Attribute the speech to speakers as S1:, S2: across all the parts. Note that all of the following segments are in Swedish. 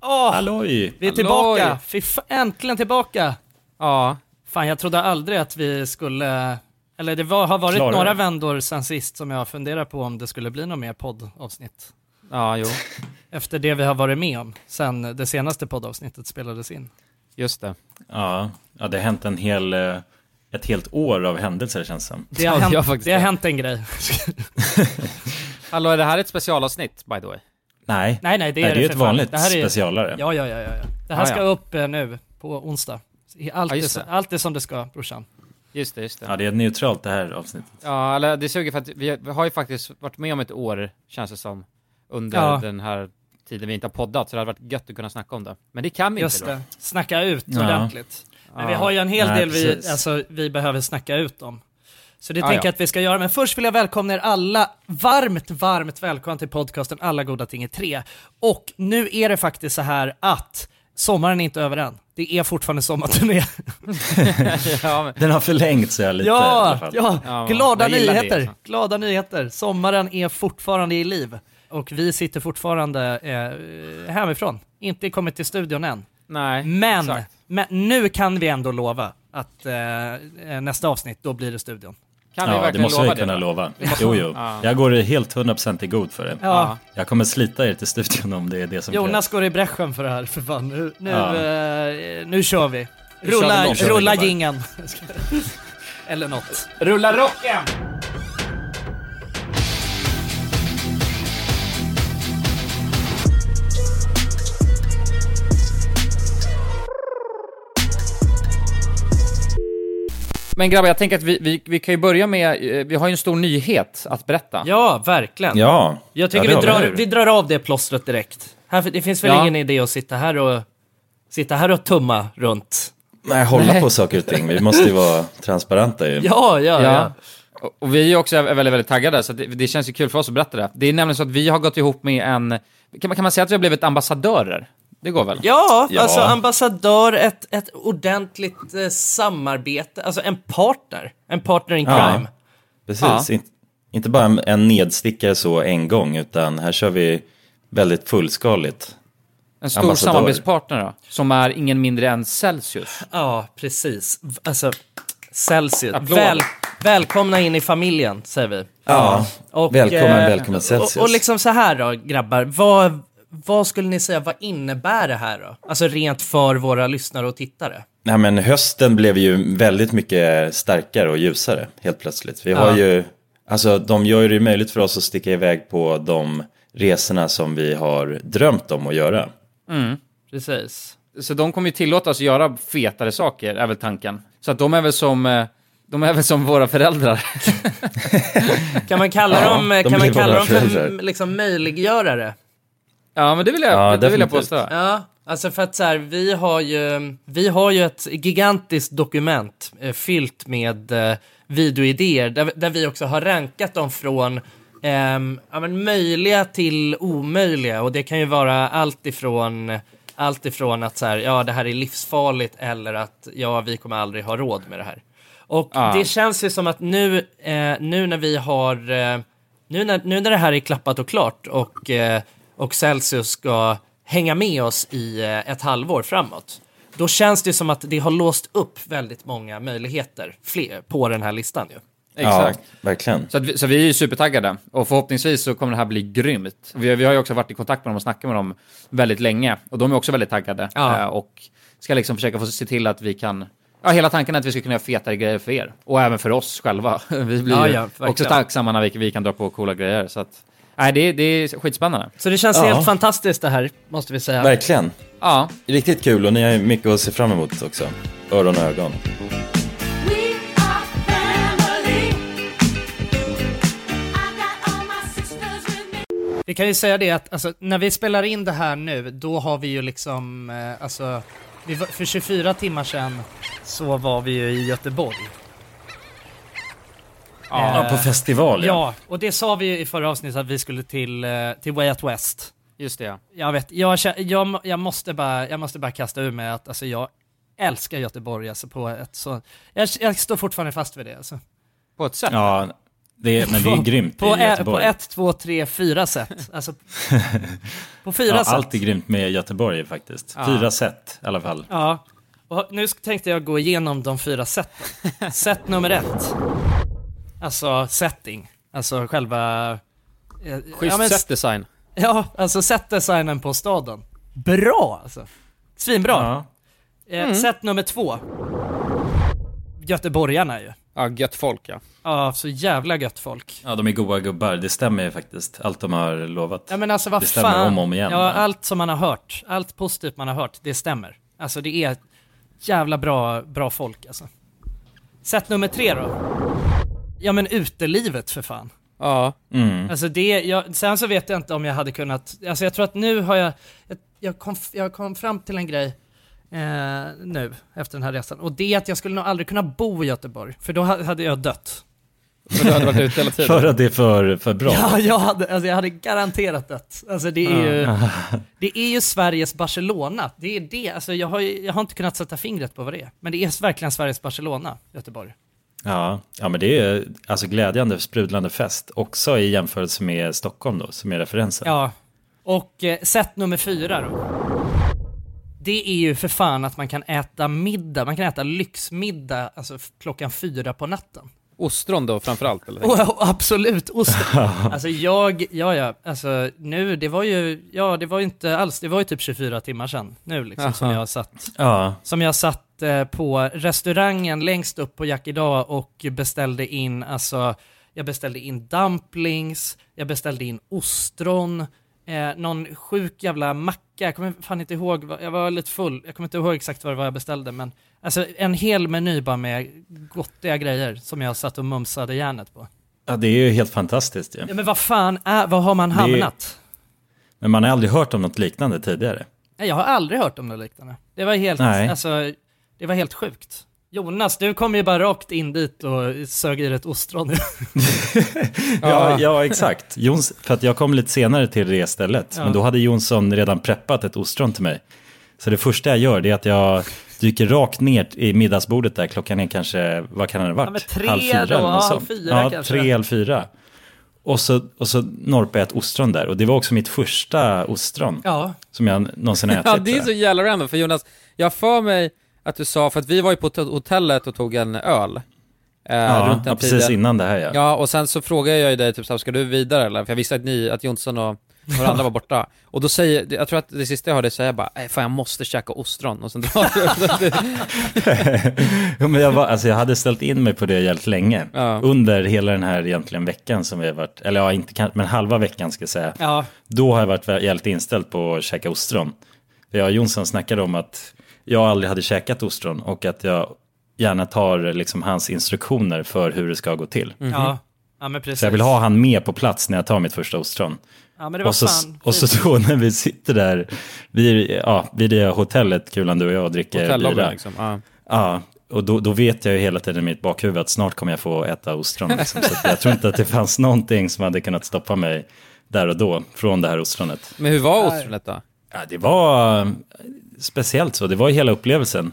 S1: Ja!
S2: Halloj!
S1: Vi är tillbaka! Fy fa- äntligen tillbaka!
S3: Ja.
S1: Fan, jag trodde aldrig att vi skulle... Eller det var, har varit
S2: Klara
S1: några
S2: det.
S1: vändor sen sist som jag funderar på om det skulle bli något mer poddavsnitt.
S3: Ja, jo.
S1: Efter det vi har varit med om sen det senaste poddavsnittet spelades in.
S3: Just det.
S2: Ja, ja, det har hänt en hel, eh, ett helt år av händelser känns som.
S1: Det har,
S3: Ja, det har
S1: hänt,
S3: faktiskt
S1: det har
S3: det.
S1: hänt en grej.
S3: Hallå, är det här ett specialavsnitt, by the way?
S2: Nej,
S1: Nej, nej, det är
S2: Nej, det är ju
S1: för
S2: ett
S1: fan.
S2: vanligt
S1: Det här är,
S2: specialare.
S1: Ja, ja, ja, ja. ja. Det här
S3: Ah,
S1: ska
S3: ja.
S1: upp eh, nu på onsdag. I Allt,
S3: Ja,
S1: är,
S3: just
S1: så-
S3: det.
S1: allt är som det ska, brorsan.
S3: Just det, just det.
S2: Ja, det är neutralt det här avsnittet.
S3: Ja, eller det suger för att vi vi har ju faktiskt varit med om ett år, känns det som, under
S1: Ja.
S3: den här tiden vi inte har poddat, så det hade varit gött att kunna snacka om det. Men det kan vi
S1: Just
S3: inte då.
S1: det. Snacka ut
S2: Ja.
S1: ordentligt. Men vi har ju en hel
S2: Nej,
S1: del vi,
S2: precis.
S1: alltså, vi behöver snacka ut om. Så det
S3: Ja,
S1: tänker jag
S3: ja.
S1: att vi ska göra. Men först vill jag välkomna er alla varmt, varmt välkomna till podcasten Alla goda ting är tre. Och nu är det faktiskt så här att sommaren är inte över än. Det är fortfarande sommarturné.
S3: ja, men,
S2: Den har förlängts så jag lite i alla
S1: Ja,
S2: fall.
S1: ja,
S3: Ja,
S1: glada
S3: jag gillar det,
S1: nyheter.
S3: alltså.
S1: glada nyheter. Sommaren är fortfarande i liv. Och vi sitter fortfarande eh, hemifrån. Inte kommit till studion än.
S3: nej,
S1: Men,
S3: exakt.
S1: men nu kan vi ändå lova att eh, nästa avsnitt, då blir det studion.
S3: Kan vi
S2: Ja, det
S3: verkligen
S2: måste
S3: lova
S2: vi
S3: det?
S2: kunna
S3: då?
S2: lova. Jo, jo.
S3: Ja.
S2: Jag går helt 100% i god för det.
S1: Ja.
S2: Jag kommer slita er till studion om det är det som
S1: Jonas går i bräschen för det här, för fan. Nu, nu,
S2: Ja.
S1: eh, nu kör vi.
S3: Nu kör vi
S1: Rulla,
S3: långt.
S1: rulla
S2: Kör vi.
S1: jingeln. Eller något.
S3: Rulla rocken! Men grabbar, jag tänker att vi, vi, vi kan ju börja med, eh, vi har ju en stor nyhet att berätta.
S1: Ja, verkligen.
S2: Ja.
S1: Jag tycker
S2: ja, det
S1: vi,
S2: har
S1: drar,
S2: hur?
S1: vi drar av det plåstret direkt. Här, det finns väl
S3: Ja.
S1: ingen idé att sitta här och, sitta här och tumma runt.
S2: Nej, hålla på saker och ting. Vi måste ju vara transparenta ju.
S1: Ja, ja, ja.
S3: Ja. Och- Och vi är ju också väldigt, väldigt taggade, så det, det känns ju kul för oss att berätta det. Det är nämligen så att vi har gått ihop med en, kan man, kan man säga att vi har blivit ambassadörer? Det går väl?
S1: Ja,
S2: Ja.
S1: alltså ambassadör, ett, ett ordentligt eh, samarbete, alltså en partner. En partner in
S2: Ja.
S1: crime.
S2: Precis. In, inte bara en- en nedstickare så en gång, utan här kör vi väldigt fullskaligt.
S3: En stor
S2: Ambassadör.
S3: samarbetspartner då, som är ingen mindre än Celsius.
S1: Ja, precis. V- Alltså, Celsius.
S3: Applåd.
S1: Väl, välkomna in i familjen, säger vi.
S2: Ja,
S1: Och,
S2: välkommen,
S1: eh,
S2: välkommen Celsius.
S1: Och, och liksom så här då, grabbar. Vad, vad skulle ni säga, vad innebär det här då? Alltså rent för våra lyssnare och tittare.
S2: Nej, men hösten blev ju väldigt mycket starkare och ljusare helt plötsligt. Vi har
S1: Ja.
S2: ju, alltså de gör ju det möjligt för oss att sticka iväg på de resorna som vi har drömt om att göra.
S1: Precis.
S3: Så de kommer ju tillåta oss att göra fetare saker, är väl tanken. Så att de är väl som, eh, de är väl som våra föräldrar.
S1: Kan man kalla
S2: Ja,
S1: dem, eh,
S2: de
S1: kan man
S2: blir
S1: kalla
S2: våra
S1: dem för
S2: föräldrar.
S1: liksom, möjliggörare?
S3: ja, men det vill jag,
S2: Ja,
S3: det vill jag
S2: definitivt.
S3: påstå.
S1: Ja, alltså för att så här, vi har ju, vi har ju ett gigantiskt dokument eh, fyllt med eh, videoidéer där, där vi också har rankat dem från ehm, ja, men möjliga till omöjliga och det kan ju vara allt ifrån allt ifrån att så här, ja det här är livsfarligt eller att ja vi kommer aldrig ha råd med det här. Och
S3: Ah.
S1: det känns ju som att nu, eh, nu när vi har, eh, nu, när, nu när det här är klappat och klart och, eh, och Celsius ska hänga med oss i eh, ett halvår framåt, då känns det som att det har låst upp väldigt många möjligheter fler, på den här listan ju.
S3: Exakt.
S2: Ja, verkligen.
S3: Så, att vi, så vi är ju supertaggade och förhoppningsvis så kommer det här bli grymt. Vi, vi har ju också varit i kontakt med dem och snackat med dem väldigt länge och de är också väldigt taggade
S1: Ja.
S3: Eh, och ska liksom försöka få se till att vi kan Ja, hela tanken är att vi ska kunna göra fetare grejer för er och även för oss själva. Vi blir
S1: Ja,
S3: ju
S1: ja, verkligen.
S3: också tacksamma när vi, vi kan dra på coola grejer. Så att, nej, det, det är skitspännande.
S1: Så det känns
S2: Ja.
S1: helt fantastiskt det här, måste vi säga.
S2: Verkligen.
S3: Ja,
S2: Riktigt kul och ni har ju mycket att se fram emot också. Öron och ögon.
S4: We are family. I got all my sisters with me.
S1: Vi kan ju säga det att alltså, när vi spelar in det här nu, då har vi ju liksom, eh, alltså, vi var, för 24 timmar sedan så var vi ju i Göteborg. Eh,
S2: Ja, på festival ja.
S1: Ja, och det sa vi ju i förra avsnittet att vi skulle till, eh, till Way Out West.
S3: just det. ja.
S1: Jag vet, jag, kä- jag, må- jag, måste, bara, jag måste bara kasta ur mig att alltså, jag älskar Göteborg alltså, på ett så... Jag, jag står fortfarande fast vid det alltså.
S3: På ett sätt.
S2: ja. Det är, men det är grymt
S1: På,
S2: i
S1: e- på
S2: Göteborg.
S1: ett, två, tre, fyra sätt. Alltså, på fyra
S2: ja,
S1: sätt.
S2: allt är grymt med Göteborg faktiskt. Fyra sätt i alla fall.
S1: Ja. Och nu sk- tänkte jag gå igenom de fyra sätten. Sätt nummer ett. Alltså setting. Alltså själva... eh,
S5: Schysst
S1: ja, men,
S5: setdesign.
S1: Ja, alltså setdesignen på staden. Bra alltså. Svinbra.
S2: Ja.
S1: Eh, Sätt nummer två. Göteborgarna ju.
S5: Ja, gött folk ja.
S1: Ja, så jävla gött folk.
S2: ja, de är goa gubbar. Det stämmer ju faktiskt. Allt de har lovat.
S1: Ja men alltså vad
S2: Det
S1: fan.
S2: stämmer om och om igen.
S1: Ja,
S2: Ja.
S1: allt som man har hört, allt positivt man har hört, det stämmer. Alltså det är jävla bra, bra folk alltså. Sätt nummer tre då. Ja men utelivet för fan.
S5: Ja.
S2: Mm.
S1: Alltså det, jag, sen så vet jag inte om jag hade kunnat, alltså jag tror att nu har jag, jag, jag, kom, jag kom fram till en grej eh, nu efter den här resan. Och det är att jag skulle nog aldrig kunna bo i Göteborg, för då ha- hade jag dött.
S5: För du hade varit ute hela
S2: För
S5: tiden.
S2: att det är för, för bra.
S1: Ja, jag hade, alltså jag hade garanterat dött. Alltså det är ju, det är ju Sveriges Barcelona. Det är det, alltså jag har, ju- jag har inte kunnat sätta fingret på vad det är. Men det är verkligen Sveriges Barcelona, Göteborg.
S2: Ja, ja men det är alltså glädjande, sprudlande fest. Också i jämförelse med Stockholm då, som är referensen.
S1: Ja. Och eh, sätt nummer fyra då. Det är ju för fan att man kan äta middag, man kan äta lyxmiddag alltså f- klockan fyra på natten.
S5: Ostron då framförallt eller?
S1: Oh, oh, absolut, ost. Alltså jag, ja ja, alltså nu, det var ju, ja det var ju inte alls, det var ju typ 24 timmar sedan nu liksom som
S5: Aha.
S1: jag satt,
S2: Ja,
S1: som jag satt eh, på restaurangen längst upp på Jack idag och beställde in, alltså jag beställde in dumplings, jag beställde in ostron, eh, någon sjuk jävla macka, jag kommer fan inte ihåg, vad- jag var lite full, jag kommer inte ihåg exakt vad det var jag beställde men alltså en hel meny bara med gottiga grejer som jag satt och mumsade järnet på.
S2: ja det är ju helt fantastiskt ju.
S1: Ja, men vad fan är, vad har man
S2: är ju-
S1: hamnat?
S2: Men man har aldrig hört om något liknande tidigare.
S1: Nej, Jag har aldrig hört om något liknande. Det var helt,
S2: Nej.
S1: alltså, det var helt sjukt. Jonas, du kom ju bara rakt in dit och sög i dig ett ostron.
S2: Ja, ja exakt. Jons, för att jag kom lite senare till det stället. Men då hade Jonsson redan preppat ett ostron till mig. Så det första jag gör det är att jag dyker rakt ner i middagsbordet där. Klockan är kanske, vad kan det ha varit?
S1: Ja, men tre
S2: eller
S1: då,
S2: något
S1: halv
S2: sånt.
S1: fyra
S2: ja,
S1: kanske.
S2: tre, halv fyra. Och så, och så norpade jag ett ostron där. Och det var också mitt första ostron
S1: ja,
S2: som jag någonsin har ätit.
S5: Ja, det är
S2: sådär.
S5: så jävla random, för Jonas, jag har för mig att du sa, för att vi var ju på hot- hotellet och tog en öl. Eh,
S2: ja,
S5: runt den
S2: ja, precis
S5: tiden.
S2: innan det här ja.
S5: Ja, och sen så frågade jag ju dig typ såhär, ska du vidare eller? För jag visste att ni, att Jonsson och några andra var borta. Och då säger, jag tror att det sista jag hörde säga jag bara, "Nej, fan jag måste käka ostron. Och sen drar du.
S2: Ja, men jag, var, alltså jag hade ställt in mig på det jävligt länge.
S5: Ja.
S2: Under hela den här egentligen veckan som vi har varit, eller ja, inte kan, men halva veckan ska jag säga.
S1: ja,
S2: Då har jag varit jävligt inställd på att käka ostron. För jag och Jonsson snackade om att jag aldrig hade käkat ostron och att jag gärna tar liksom hans instruktioner för hur det ska gå till.
S1: ja. Ja men precis.
S2: Så jag vill ha han med på plats när jag tar mitt första ostron.
S1: Ja men det var
S2: Och så,
S1: fan.
S2: och så då när vi sitter där vid, ja, vid det hotellet, Kulan du och jag, och dricker
S5: Hotellobben
S2: bira.
S5: liksom. Ja.
S2: Ja, och då, då vet jag ju hela tiden i mitt bakhuvud att snart kommer jag få äta ostron. Liksom. Så att jag tror inte att det fanns någonting som hade kunnat stoppa mig där och då från det här ostronet.
S5: Men hur var ostronet då?
S2: Ja, det var eh, speciellt så, det var ju hela upplevelsen.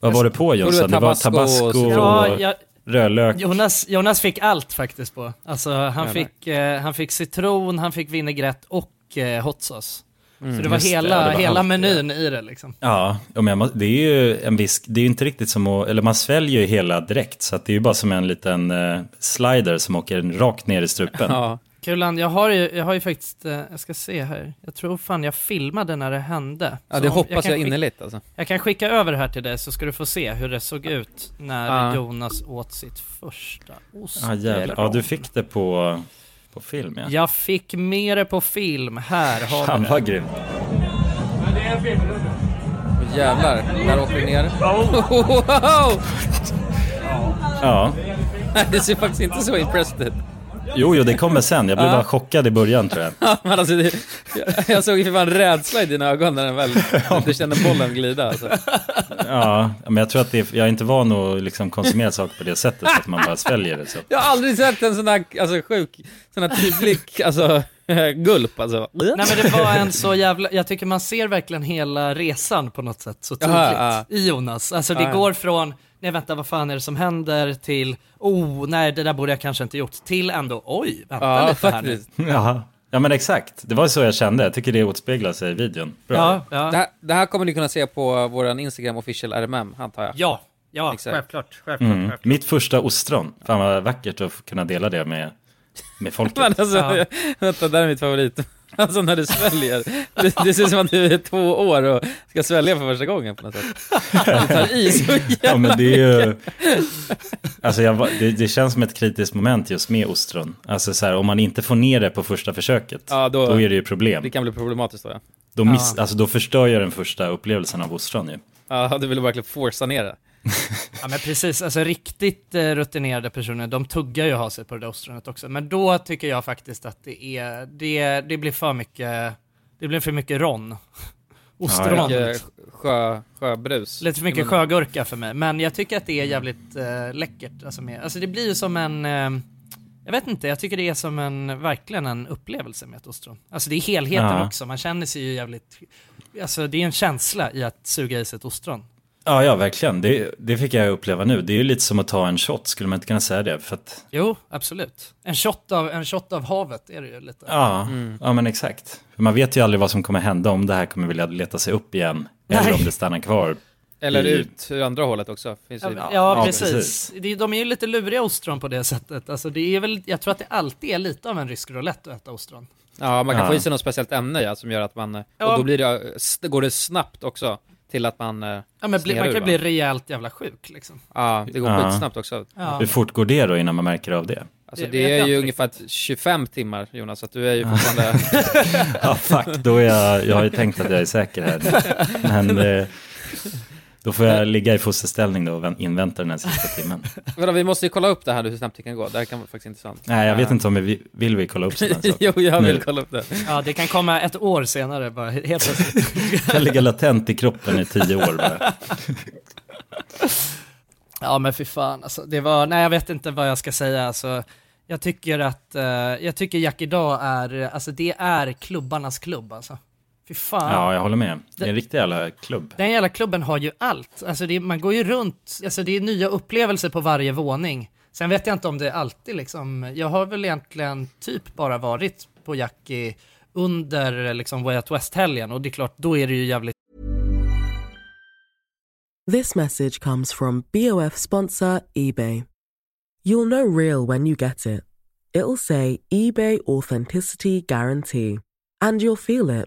S2: Vad var det på Jonsson? Det var
S5: tabasco och-
S2: tabasco
S1: Ja,
S2: och
S1: jag,
S2: rödlök.
S1: Jonas, Jonas fick allt faktiskt på. Alltså han,
S5: Ja,
S1: fick, eh, han fick citron, han fick vinägrett och eh, hot sauce. så det var
S2: just det,
S1: hela,
S2: det var
S1: hela
S2: allt,
S1: menyn i det liksom.
S2: Ja, ja, men jag må- det är ju en viss, det är ju inte riktigt som att, eller man sväljer ju hela direkt så att det är ju bara som en liten eh, slider som åker rakt ner i strupen.
S5: Ja.
S1: Kulan, jag har ju, jag har ju faktiskt, eh, jag ska se här, jag tror fan jag filmade när det hände.
S5: Ja,
S1: Så
S5: det
S1: om-
S5: hoppas
S1: kan
S5: jag
S1: skick-
S5: innerligt alltså.
S1: Jag kan skicka över det här till dig så ska du få se hur det såg ut när
S5: Ja.
S1: Jonas åt sitt första ost.
S2: Ja, Ah, jävlar. ja, du fick det på, på film ja.
S1: Jag fick med det på film, här har
S2: Fan
S1: du det.
S2: vad grymt.
S5: Åh, jävlar, där åker vi ner. Wow!
S2: Ja.
S5: Nej, det ser faktiskt inte så impressed ut.
S2: Jo, jo, det kommer sen. Jag blev bara chockad i början tror jag.
S5: Men alltså, det, jag, jag såg ju för fan rädsla i dina ögon när den väl, du kände bollen glida alltså.
S2: Ja, men jag tror att det är, jag är inte van att liksom konsumera saker på det sättet, så att man bara sväljer det. Så.
S5: Jag har aldrig sett en sån här, alltså sjuk, sån här tydlig, alltså Gulp alltså.
S1: Nej men det var en så jävla, jag tycker man ser verkligen hela resan på något sätt så tydligt
S5: Jaha, ja.
S1: i Jonas. Alltså det
S5: Ja, ja.
S1: går från, nej vänta vad fan är det som händer till, oh nej det där borde jag kanske inte gjort, till ändå oj, vänta
S5: Ja,
S1: lite här nu.
S5: faktiskt.
S2: Jaha. Ja men exakt, det var så jag kände. Jag tycker det återspeglar sig i videon. Bra.
S1: Ja, ja.
S5: Det här, det här kommer ni kunna se på våran Instagram official RMM, antar jag.
S1: Ja, ja
S5: Exakt.
S1: självklart. självklart,
S2: Mm.
S1: självklart.
S2: Mitt första ostron. Fan vad vackert att kunna dela det med, med folket.
S5: Men alltså,
S1: Ja.
S5: vänta, det här är mitt favorit. Alltså när du sväljer. Det, det ser ut som att du är två år och ska svälja för första gången på något sätt. Du tar i så
S2: Ja men det är ju... Alltså jag, var- det, det känns som ett kritiskt moment just med ostron. Alltså så här, om man inte får ner det på första försöket,
S5: Ja, då-
S2: då, är det ju problem.
S5: Det kan bli problematiskt då ja.
S2: Då, miss, alltså, då förstör jag den första upplevelsen av ostron ju.
S5: Ja, du vill verkligen forsa ner det.
S1: Ja men precis, alltså riktigt eh, rutinerade personer, de tuggar ju ha sig på det där ostronet också. Men då tycker jag faktiskt att det är, det, det blir för mycket, det blir för mycket ron. Ostron.
S2: Ja,
S5: Mycket sjö, sjöbrus.
S1: Lite för mycket
S5: I munnen.
S1: sjögurka för mig, men jag tycker att det är jävligt eh, läckert. Alltså, med, alltså det blir ju som en, eh, jag vet inte, jag tycker det är som en, verkligen en upplevelse med ett ostron. Alltså det är helheten
S2: Ja.
S1: också, man känner sig ju jävligt, alltså det är en känsla i att suga i sig ett ostron.
S2: Ja, ja verkligen. Det, det fick jag uppleva nu. Det är ju lite som att ta en shot, skulle man inte kunna säga det? För att,
S1: Jo, absolut. En shot av, en shot av havet är det ju lite.
S2: ja, ja, men exakt. För man vet ju aldrig vad som kommer hända, om det här kommer vilja leta sig upp igen, eller om det stannar kvar.
S5: Eller ut ur andra hållet också. Finns ju-
S1: Ja,
S2: ja,
S1: precis.
S2: precis.
S1: Det är- De är ju lite luriga ostron på det sättet. Alltså det är väl, jag tror att det alltid är lite av en rysk roulette att äta ostron.
S5: Ja, man kan
S2: Ja.
S5: få i sig något speciellt ämne ja, som gör att man, eh,
S1: Ja.
S5: och då blir det, s- går det snabbt också till att man, eh,
S1: Ja, men bli,
S5: Snerar
S1: man
S5: du,
S1: kan
S5: va?
S1: bli rejält jävla sjuk liksom.
S5: ja, det går
S2: Ja.
S5: skitsnabbt också.
S1: Ja.
S2: Hur fort går det då innan man märker av det?
S5: Alltså
S1: Det
S5: det,
S1: vet jag
S5: är ju
S1: inte
S5: ungefär 25 timmar Jonas, så att du är ju fortfarande,
S2: Ja, fuck, då är jag, jag har ju tänkt att jag är säker här. Men eh, då får jag ligga i fosterställning då och vä- invänta den här sista timmen.
S5: Vadå, vi måste ju kolla upp det här nu, hur snabbt det kan gå, det här kan vara faktiskt intressant.
S2: Nej, jag vet
S5: Ja.
S2: inte om vi vill- vill vi kolla upp sådana saker.
S5: jo, jag vill
S2: Nu.
S5: kolla upp det.
S1: Ja, det kan komma ett år senare bara helt plötsligt.
S2: Jag ligga latent i kroppen i tio år bara.
S1: Ja, men fy fan alltså, det var, nej jag vet inte vad jag ska säga alltså. Jag tycker att, eh, jag tycker Jack idag är, eh, alltså det är klubbarnas klubb alltså. Fy fan.
S2: Ja, jag håller med. Det är en riktig jävla klubb.
S1: Den jävla klubben har ju allt. Alltså det, man går ju runt, alltså det är nya upplevelser på varje våning. Sen vet jag inte om det alltid liksom, jag har väl egentligen typ bara varit på Jackie under liksom Way Out West-helgen och det är klart, då är det ju jävligt
S6: This message comes from BOF sponsor eBay. You'll know real when you get it. It'll say eBay Authenticity Guarantee. And you'll feel it.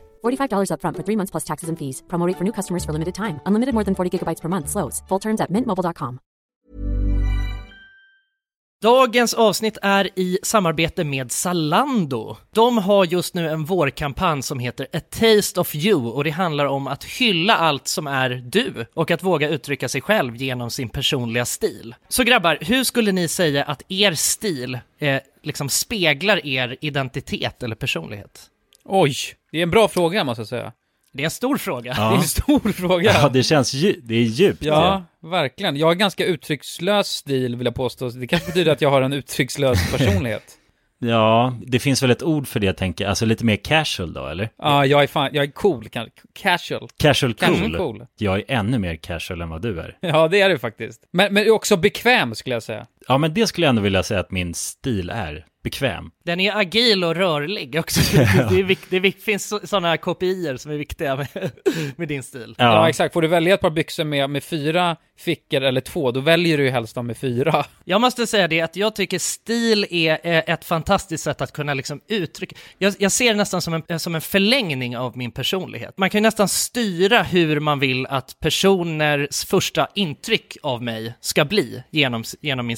S7: $45 upfront for three months plus taxes and fees. Promo rate for new customers for limited time. Unlimited more than 40 gigabytes per month. Slows. Full terms at mintmobile.com.
S1: Dagens avsnitt är i samarbete med Zalando. De har just nu en vårkampanj som heter A Taste of You och det handlar om att hylla allt som är du och att våga uttrycka sig själv genom sin personliga stil. Så grabbar, hur skulle ni säga att er stil eh, liksom speglar er identitet eller personlighet?
S5: Oj, det är en bra fråga måste jag säga.
S1: Det är en stor fråga.
S5: Det är en stor fråga.
S2: Ja,
S5: Ja,
S2: det känns dju- det är djupt. Ja.
S5: verkligen. Jag har ganska uttryckslös stil vill jag påstå, det kanske betyder att jag har en uttryckslös personlighet.
S2: ja, det finns väl ett ord för det jag tänker. Alltså lite mer casual då, eller?
S5: Ja, jag är fan, jag är cool, kan- casual.
S2: Casual cool.
S5: Casual cool.
S2: Jag är ännu mer casual än vad du är.
S5: Ja, det är du faktiskt. Men, men också bekväm skulle jag säga.
S2: Ja, men det skulle jag ändå vilja säga att min stil är. Bekväm.
S1: Den är agil och rörlig också. Det, är vik- det är vik- finns sådana kopior som är viktiga med, med din stil.
S5: Ja. exakt. Får du välja ett par byxor med, med fyra fickor eller två, då väljer du ju helst de med fyra.
S1: Jag måste säga det att jag tycker stil är eh, ett fantastiskt sätt att kunna liksom uttrycka. Jag, jag ser det nästan som en, eh, som en förlängning av min personlighet. Man kan ju nästan styra hur man vill att personers första intryck av mig ska bli genom, s- genom min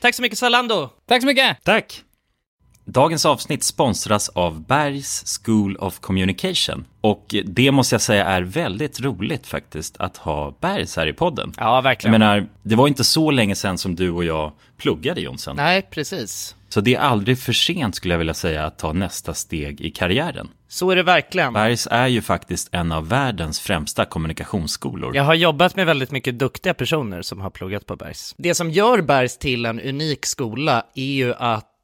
S1: Tack så mycket Zalando!
S5: Tack så mycket!
S2: Tack! Dagens avsnitt sponsras av Bergs School of Communication. Och det måste jag säga är väldigt roligt faktiskt att ha Bergs här i podden.
S1: Ja,
S2: Jag
S1: verkligen.
S2: menar, det var inte så länge sedan som du och jag pluggade Jonsson.
S1: Nej, precis.
S2: Så det är aldrig för sent skulle jag vilja säga att ta nästa steg i karriären.
S1: Så är det verkligen.
S2: Bergs är ju faktiskt en av världens främsta kommunikationsskolor.
S1: Jag har jobbat med väldigt mycket duktiga personer som har pluggat på Bergs. Det som gör Bergs till en unik skola är ju att eh,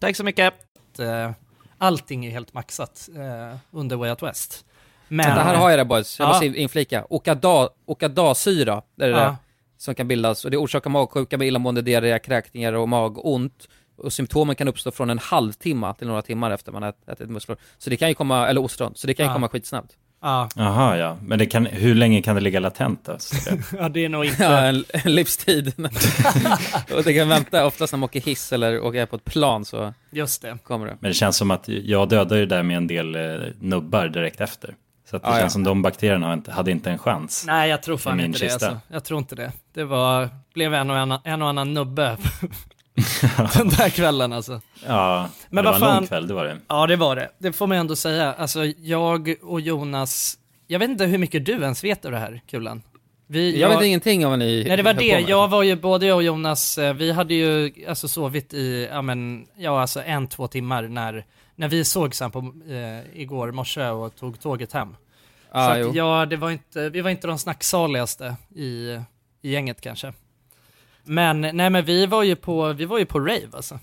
S1: Tack så mycket. eh, Allting är helt maxat eh, under Way Out West. Men,
S5: Det här har jag det boys, jag
S1: Ja.
S5: måste in- inflika. Okada- Okadasyra, det är det
S1: Ja.
S5: där som kan bildas och det orsakar magsjuka med illamående, diarré, kräkningar och magont. Och symptomen kan uppstå från en halvtimme till några timmar efter man ät- ätit musslor. Så det kan ju komma, eller ostron, så det kan ju komma skitsnabbt.
S1: ja,
S2: Jaha, ja. Men det kan, hur länge kan det ligga latent då?
S1: ja, det är nog inte...
S5: Ja, en, en livstid. och det kan vänta, oftast när man åker hiss eller åker på ett plan så
S1: Just det.
S5: kommer det.
S2: Men det känns som att jag dödade det där med en del eh, nubbar direkt efter. Så att det
S5: Ah, ja.
S2: känns som de bakterierna har inte- hade inte en chans.
S1: Nej, jag tror fan
S2: I min
S1: inte det.
S2: kista.
S1: Alltså. Jag tror inte det. Det var, blev en och annan, en och annan nubbe den där kvällen alltså.
S2: Ja, men
S1: Men
S2: det
S1: vad
S2: var en
S1: fan-
S2: lång kväll, det var det.
S1: Ja, det var det. Det får man ändå säga. Alltså, jag och Jonas, jag vet inte hur mycket du ens vet av det här, Kulan. Vi,
S5: Jag vet ingenting om vad ni
S1: Nej det var
S5: höll på
S1: det,
S5: med.
S1: jag var ju, både jag och Jonas, eh, vi hade ju alltså sovit i, ja men, ja alltså en, två timmar när, när vi såg sen på, eh, igår morse och tog tåget hem.
S5: Ah,
S1: Så
S5: jo.
S1: att ja, det var inte, vi var inte de snacksaligaste i, i gänget kanske. Men nej men vi var ju på, vi var ju på rave alltså.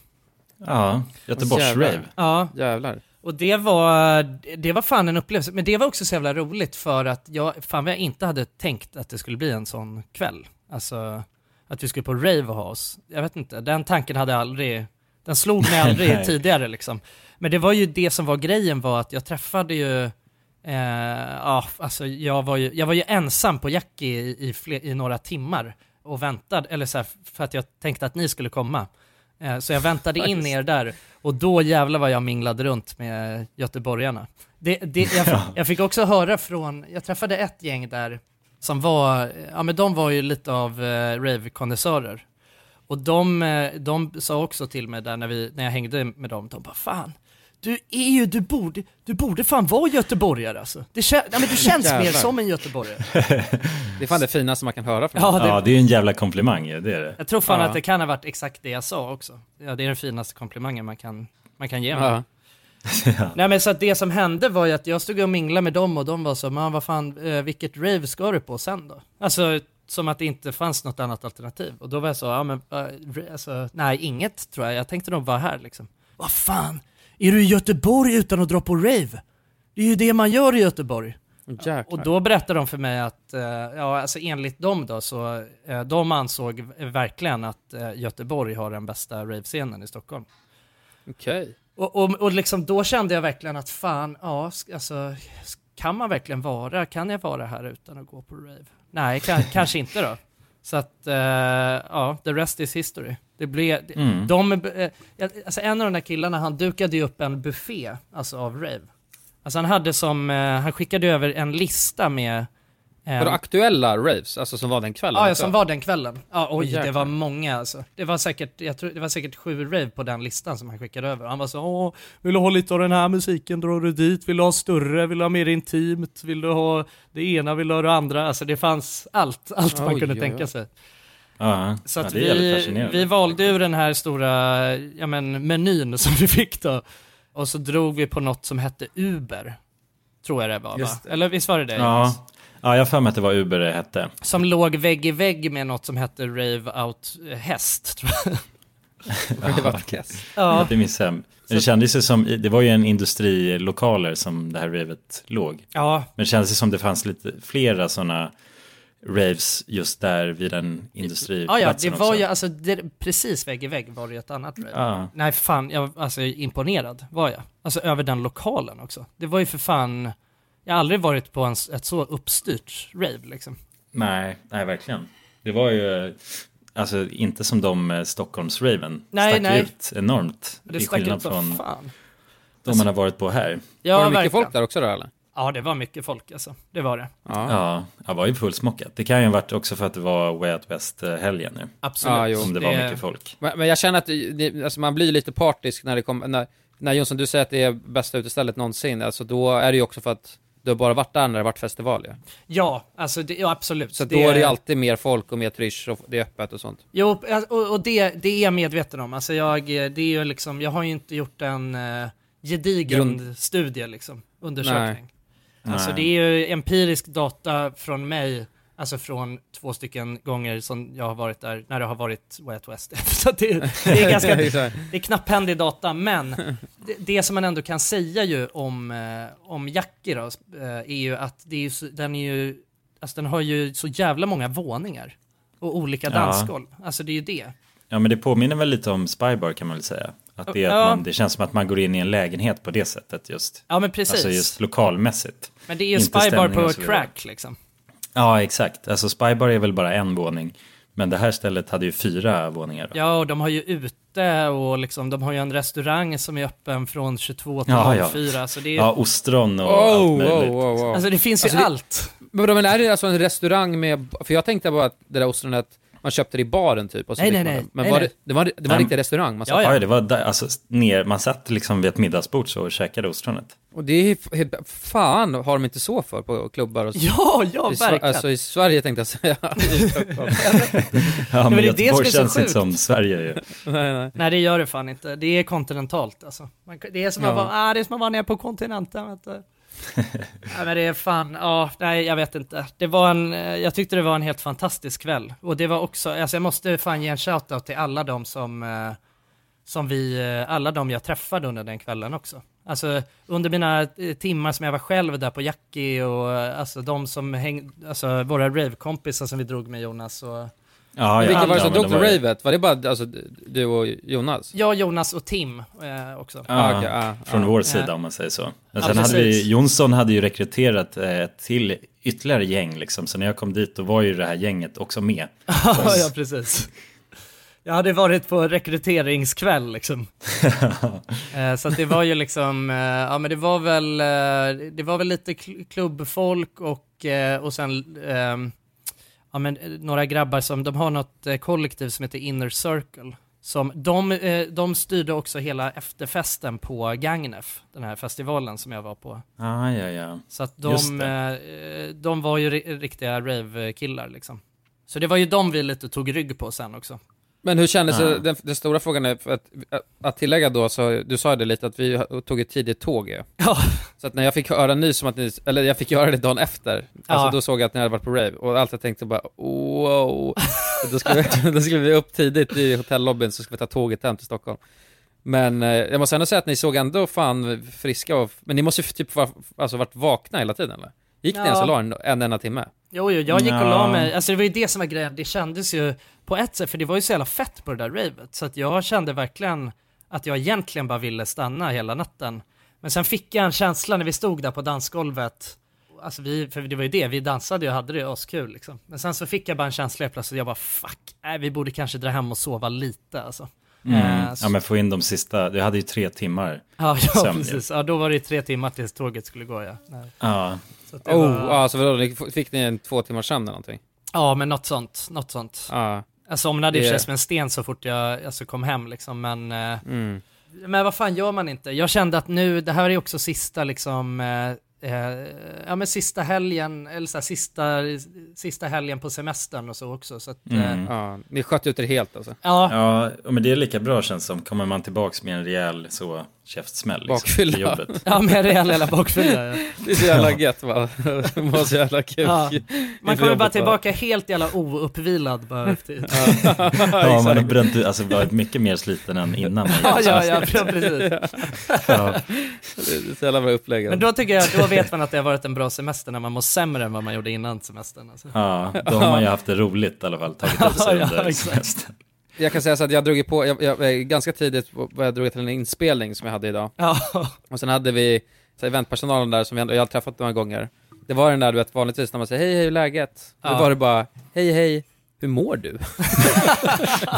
S2: Ja, Göteborgs-rave.
S1: Ja,
S5: Jävlar.
S1: och det var, det var fan en upplevelse, men det var också så jävla roligt för att jag, fan vad jag inte hade tänkt att det skulle bli en sån kväll. Alltså att vi skulle på rave och ha oss. Jag vet inte, den tanken hade jag aldrig, den slog mig aldrig
S2: Nej.
S1: tidigare liksom. Men det var ju det som var grejen var att jag träffade ju, eh, ja, alltså jag var ju, jag var ju ensam på Jackie i, i, fler, i några timmar och väntade, eller så här, för att jag tänkte att ni skulle komma. Eh, Så jag väntade in er där och då jävlar vad jag minglade runt med göteborgarna. Det, det, jag, jag fick också höra från, jag träffade ett gäng där som var, ja men de var ju lite av eh, rave-konnässörer. Och de, eh, de sa också till mig där när, vi, när jag hängde med dem, de bara fan, du är ju, du borde, du borde fan vara göteborgare alltså. Det kän, ja, men du känns mer
S5: Jävlar.
S1: som en göteborgare.
S5: Det är fan det finaste man kan höra från
S1: Ja, det,
S2: Ja, det är ju en jävla komplimang, ju, det är det.
S1: Jag tror fan
S5: Ja.
S1: att det kan ha varit exakt det jag sa också. Ja, det är den finaste komplimangen man kan, man kan ge mig.
S5: Ja.
S1: Nej men så att det som hände var ju att jag stod och minglade med dem och de var så, man vad fan, eh, vilket rave ska du på sen då? Alltså som att det inte fanns något annat alternativ. Och då var jag så, ja men, eh, ra- alltså, nej inget tror jag, jag tänkte nog vara här liksom. Vad fan, är du i Göteborg utan att dra på rave? Det är ju det man gör i Göteborg.
S5: Jäklar.
S1: Och då berättade de för mig att, eh, ja alltså enligt dem då, så eh, de ansåg verkligen att eh, Göteborg har den bästa ravescenen i Stockholm.
S5: Okej.
S1: Och, och, och liksom då kände jag verkligen att fan, ja, sk- alltså, s- kan man verkligen vara, kan jag vara här utan att gå på rave? Nej, ka- kanske inte då. Så att, eh, ja, the rest is history. Det blev, det- de, eh, alltså en av de där killarna, han dukade ju upp en buffé, alltså av rave. Alltså han hade som, eh, han skickade över en lista med... eh,
S5: Var det aktuella raves, alltså som var den kvällen?
S1: Ja, ja, som var den kvällen. Ja, oj,
S5: jäklar.
S1: det var många alltså. Det var säkert, jag tror, det var säkert sju rave på den listan som han skickade över. Han var så, åh, vill du ha lite av den här musiken, drar du dit, vill du ha större, vill du ha mer intimt, vill du ha det ena, vill du ha det andra. Alltså det fanns allt, allt man
S5: Oj,
S1: kunde
S5: oj,
S1: tänka
S5: oj.
S1: sig.
S2: Ja,
S1: Så
S2: ja,
S1: att
S2: det är jävligt
S1: vi,
S2: fascinerande.
S1: vi valde ur den här stora, ja men menyn som vi fick då. Och så drog vi på något som hette Uber. Tror jag det var va?
S5: Just
S1: Eller visst var det det? Jonas?
S2: Ja. ja, jag har för mig att det var Uber det hette.
S1: Som låg vägg i vägg med något som hette Rave Out eh, Häst, tror jag.
S5: Det var kass.
S1: Ja,
S2: Det minns jag. Men Det kändes ju som, det var ju en industrilokaler som det här ravet låg.
S1: ja,
S2: Men det kändes ju som det fanns lite flera sådana raves just där vid den
S1: ja,
S2: industriplatsen
S1: ja det var
S2: också.
S1: ju, alltså det, precis vägg i vägg var det ju ett annat rave.
S2: Ja.
S1: Nej fan, jag, alltså imponerad var jag. Alltså över den lokalen också. Det var ju för fan, jag har aldrig varit på en, s- ett så uppstyrt rave liksom.
S2: Nej, nej verkligen. Det var ju, alltså inte som de eh, Stockholmsraven.
S1: Nej,
S2: stack
S1: nej.
S2: ut enormt.
S1: Det
S2: i
S1: stack
S2: skillnad
S1: ut som
S2: från
S1: fan. alltså.
S2: de man har varit på här.
S1: Ja,
S5: var det mycket
S1: verkligen.
S5: folk där också då eller?
S1: Ja, det var mycket folk alltså. Det var det.
S2: Ja, det var ju fullsmockat. Det kan ju ha varit också för att det var Way Out West-helgen nu.
S1: Absolut.
S5: Ja, jo.
S2: Om det, var mycket folk.
S5: Men, men jag känner att det, alltså man blir lite partisk när det kommer, när, när Jonsson du säger att det är bästa utestället någonsin, alltså då är det ju också för att du har bara varit där när det har varit festival ju.
S1: Ja, alltså det, ja, absolut.
S5: Så då är det ju alltid mer folk och mer trysch och det är öppet och sånt.
S1: Jo, alltså, och, och det, det är jag medveten om. Alltså jag, det är ju liksom, jag har ju inte gjort en eh, gedigen
S5: Grund-
S1: studie, liksom, undersökning. Alltså det är ju empirisk data från mig, alltså från två stycken gånger som jag har varit där, när det har varit Way Out West. Så att det, det är ganska, det är knapphändig data, men det, det som man ändå kan säga ju om, eh, om Jackie då, eh, är ju att det är ju, så- den är ju, alltså den har ju så jävla många våningar och olika
S2: Ja.
S1: dansgolv. Alltså det är ju det.
S2: Ja, men det påminner väl lite om Spybar kan man väl säga. Att det, är
S1: Ja.
S2: att man, det känns som att man går in i en lägenhet på det sättet just.
S1: Ja men precis.
S2: Alltså just lokalmässigt.
S1: men det är ju
S2: inte
S1: spybar
S2: stämning
S1: på
S2: och så vidare.
S1: crack liksom.
S2: Ja, exakt. Alltså Spybar är väl bara en våning. Men det här stället hade ju fyra våningar. Då.
S1: Ja och de har ju ute och liksom, de har ju en restaurang som är öppen från 22 till
S2: Ja, ja.
S1: 04. Så det är ju,
S2: Ja, ostron och allt
S5: Oh,
S2: möjligt.
S5: oh, oh, oh.
S1: alltså det finns
S5: Alltså,
S1: ju
S5: det-
S1: allt.
S5: Men vadå, men är det alltså en restaurang med, för jag tänkte bara att det där ostronet, man köpte det i baren typ och så
S1: Nej, nej,
S5: fick man
S1: nej.
S5: det. Men
S1: Nej,
S5: var
S1: nej.
S5: det, det var, det var en
S2: Nej.
S5: riktig restaurang? Man satt-
S1: Ja,
S2: Ja,
S1: ja.
S2: det var där, alltså, ner, man satt liksom vid ett middagsbord så och käkade ostronet.
S5: Och det är ju f- helt- fan har de inte så för på klubbar och så.
S1: Ja, ja
S5: I, Sver-
S1: verkligen.
S5: alltså i Sverige tänkte jag säga.
S2: Ja, men,
S1: det är det som
S2: Göteborg
S1: är så
S2: känns
S1: sjukt.
S2: inte som Sverige ju.
S5: nej, nej.
S1: Nej det gör det fan inte. Det är kontinentalt alltså. Man, det, är som att
S5: Ja.
S1: vara, ah, det är som att vara nere på kontinenten. Vet du. nej men det är fan, ja, nej jag vet inte. Det var en, eh, jag tyckte det var en helt fantastisk kväll. Och det var också, alltså jag måste fan ge en shoutout till alla de som, eh, som vi, eh, alla de jag träffade under den kvällen också. Alltså under mina eh, timmar som jag var själv där på Jackie och eh, alltså de som hängde, alltså våra ravekompisar som vi drog med Jonas och
S2: Ja, ja,
S5: Vilka var det
S2: ja,
S5: som
S2: men
S5: drog till
S2: var-
S5: ravet? Var det bara alltså, du och Jonas?
S1: jag, Jonas och Tim eh, också.
S2: Ja,
S5: Ah, okej, ah,
S2: från
S5: ah.
S2: vår sida om man säger så. Men
S1: Ja,
S2: sen hade vi,
S1: precis.
S2: Jonsson hade ju rekryterat eh, till ytterligare gäng liksom. Så när jag kom dit då var ju det här gänget också med.
S1: Ja, ja precis. Jag hade varit på rekryteringskväll liksom. Eh, Så att det var ju liksom, eh, ja men det var väl, eh, det var väl lite kl- klubbfolk och, eh, och sen, ehm, ja men eh, några grabbar som, de har något eh, kollektiv som heter Inner Circle. Som, de, eh, de styrde också hela efterfesten på Gagnef, den här festivalen som jag var på.
S2: Ah, ja, ja.
S1: Så att
S2: Just
S1: de, eh, de var ju ri- riktiga rave-killar liksom. Så det var ju de vi lite tog rygg på sen också.
S5: Men hur kändes
S2: Ah.
S5: det, den, den stora frågan är, för att, att tillägga då, så, du sa det lite att vi tog ett tidigt tåg ju.
S1: Ja,
S5: Så att när jag fick höra nys om att ni, eller jag fick göra det dagen efter, alltså
S1: Ja.
S5: då såg jag att ni hade varit på rave, och allt jag tänkte bara wow. då, skulle vi, då skulle vi upp tidigt i hotellobbyn, så skulle vi ta tåget hem till Stockholm. Men eh, jag måste ändå säga att ni såg ändå fan friska och, men ni måste ju typ vara, alltså varit vakna hela tiden eller? Gick ni
S1: Ja.
S5: ens och la en, en enda timme?
S1: Jo, jo, jag gick och la
S2: Nja.
S1: mig. Alltså det var ju det som var grejen. Det kändes ju på ett sätt, för det var ju så jävla fett på det där ravet. Så att jag kände verkligen att jag egentligen bara ville stanna hela natten. Men sen fick jag en känsla när vi stod där på dansgolvet. Alltså vi, för det var ju det, vi dansade ju och hade det askul liksom. Men sen så fick jag bara en känsla helt plötsligt, jag bara fuck, nej, vi borde kanske dra hem och sova lite alltså. Eh, så-
S2: Mm. Ja, men få in de sista, du hade ju tre timmar.
S1: ja, ja
S2: sömn,
S1: precis. Ja, då var det ju tre timmar tills tåget skulle gå ja. Nej.
S2: Ja,
S1: Så att det
S5: Oh,
S1: var,
S5: ja, så vadå, ni f- fick ni en två timmars sömn eller någonting?
S1: ja, men något sånt, något sånt.
S5: Ja.
S1: Jag somnade i och för sig
S5: Det-
S1: som en sten så fort jag alltså, kom hem liksom, men, eh,
S5: Mm.
S1: men vad fan gör man inte? Jag kände att nu, det här är också sista liksom, eh, eh, ja men sista helgen, eller så här, sista, sista helgen på semestern och så också. Så att, eh,
S5: Ja, ni sköt ut er helt alltså?
S1: ja,
S2: ja men det är lika bra känns som. Kommer man tillbaks med en rejäl så käftsmäll liksom,
S5: Bakfylla.
S2: till jobbet.
S1: ja med rejäl jävla bakfylla. Ja.
S5: Det är så jävla gött va? Det var så jävla kul.
S1: Ja. Man kommer bara
S5: jobbet,
S1: tillbaka helt jävla ouppvilad bara efter.
S2: Ja, man har bränt, alltså varit mycket mer sliten än innan.
S1: Ja, ja, ja, ja, precis.
S5: Det är så jävla bra upplägg.
S1: Men då tycker jag, då vet man att det har varit en bra semester när man mår sämre än vad man gjorde innan semestern. Alltså.
S2: Ja, då har man ju haft det roligt i alla fall, tagit upp sig
S1: Ja,
S2: under
S1: exakt.
S2: semestern.
S5: Jag kan säga så att jag drog ju på, jag, jag, eh, ganska tidigt var jag drog till en inspelning som jag hade idag.
S1: Ja,
S5: Och sen hade vi så här, eventpersonalen där som jag, ändå- jag har träffat några gånger. Det var den där du vet vanligtvis när man säger hej, hej, hur är läget? Då
S1: Ja.
S5: var det bara, hej, hej, hur mår du?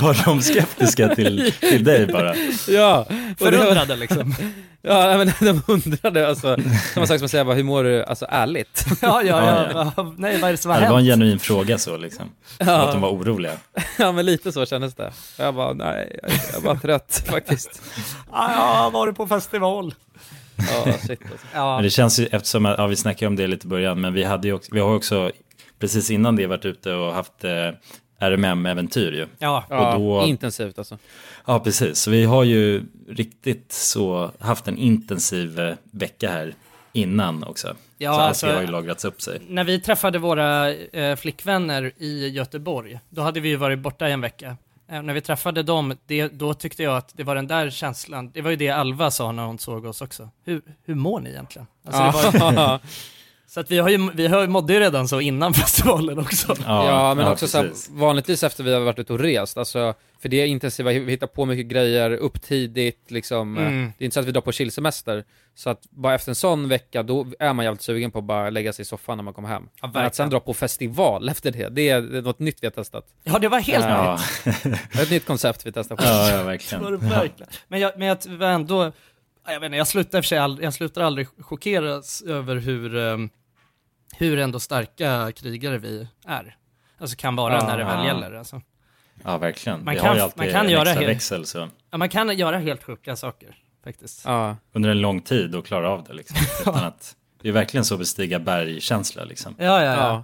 S2: Var de skeptiska till, till dig bara?
S5: ja, och det var,
S1: förundrade liksom.
S5: ja, nej, men de undrade alltså, samma sak som att säga bara, hur mår du, alltså ärligt?
S1: Ja, ja, ja. Nej, vad är det som har
S2: Ja, det var en
S1: hänt?
S2: genuin fråga så liksom. Som att de var oroliga.
S5: ja, men lite så kändes det. Och jag bara, nej, jag, jag var trött faktiskt.
S1: Ja, var du på festival?
S5: Ja, shit alltså.
S1: Ja,
S2: Men det känns ju, eftersom, ja, vi snackade om det lite i början, men vi, hade ju också, vi har också precis innan det varit ute och haft eh, RMM-äventyr ju.
S1: ja.
S5: Ja,
S2: Och då-
S5: intensivt alltså.
S2: Ja, precis. Så vi har ju riktigt så haft en intensiv eh, vecka här innan också.
S1: Ja,
S2: så allt
S1: alltså-
S2: det har ju lagrats upp sig.
S1: När vi träffade våra eh, flickvänner i Göteborg, då hade vi ju varit borta i en vecka. Eh, när vi träffade dem, det, då tyckte jag att det var den där känslan, det var ju det Alva sa när hon såg oss också. Hur, hur mår ni egentligen? Alltså, det var, ju-
S5: ja,
S1: så att vi, har ju, vi har, mådde ju redan så innan festivalen också.
S5: ja, men också så här,
S2: precis.
S5: vanligtvis efter vi har varit ute och rest, alltså, för det är intensiva, vi hittar på mycket grejer, upp tidigt, liksom.
S1: Mm.
S5: eh, Det är inte så att vi drar på chillsemester, så att bara efter en sån vecka, då är man jävligt sugen på att bara lägga sig i soffan när man kommer hem. men
S1: verkligen.
S5: att sen dra på festival efter det, det är, det är något nytt vi har testat.
S1: Ja, det var helt nytt.
S2: Ja,
S5: Ett nytt koncept vi testar på.
S2: ja, ja,
S1: var det
S2: verkligen.
S1: verkligen. Men jag, men jag var ändå, ja, jag vet inte, jag slutar i och för sig all, jag slutar aldrig chockeras över hur, ehm, hur ändå starka krigare vi är. Alltså kan vara
S5: Ja.
S1: när det väl gäller. Alltså.
S2: Ja, verkligen.
S1: Man
S2: vi
S1: kan-
S2: har ju alltid
S1: man kan
S2: en
S1: göra
S2: extra
S1: helt-
S2: växel så
S1: Ja, man kan göra helt sjuka saker faktiskt.
S5: Ja.
S2: under en lång tid och klara av det liksom. Utan att, det är verkligen så bestiga bergkänsla liksom.
S1: Ja, ja, ja.
S5: Ja.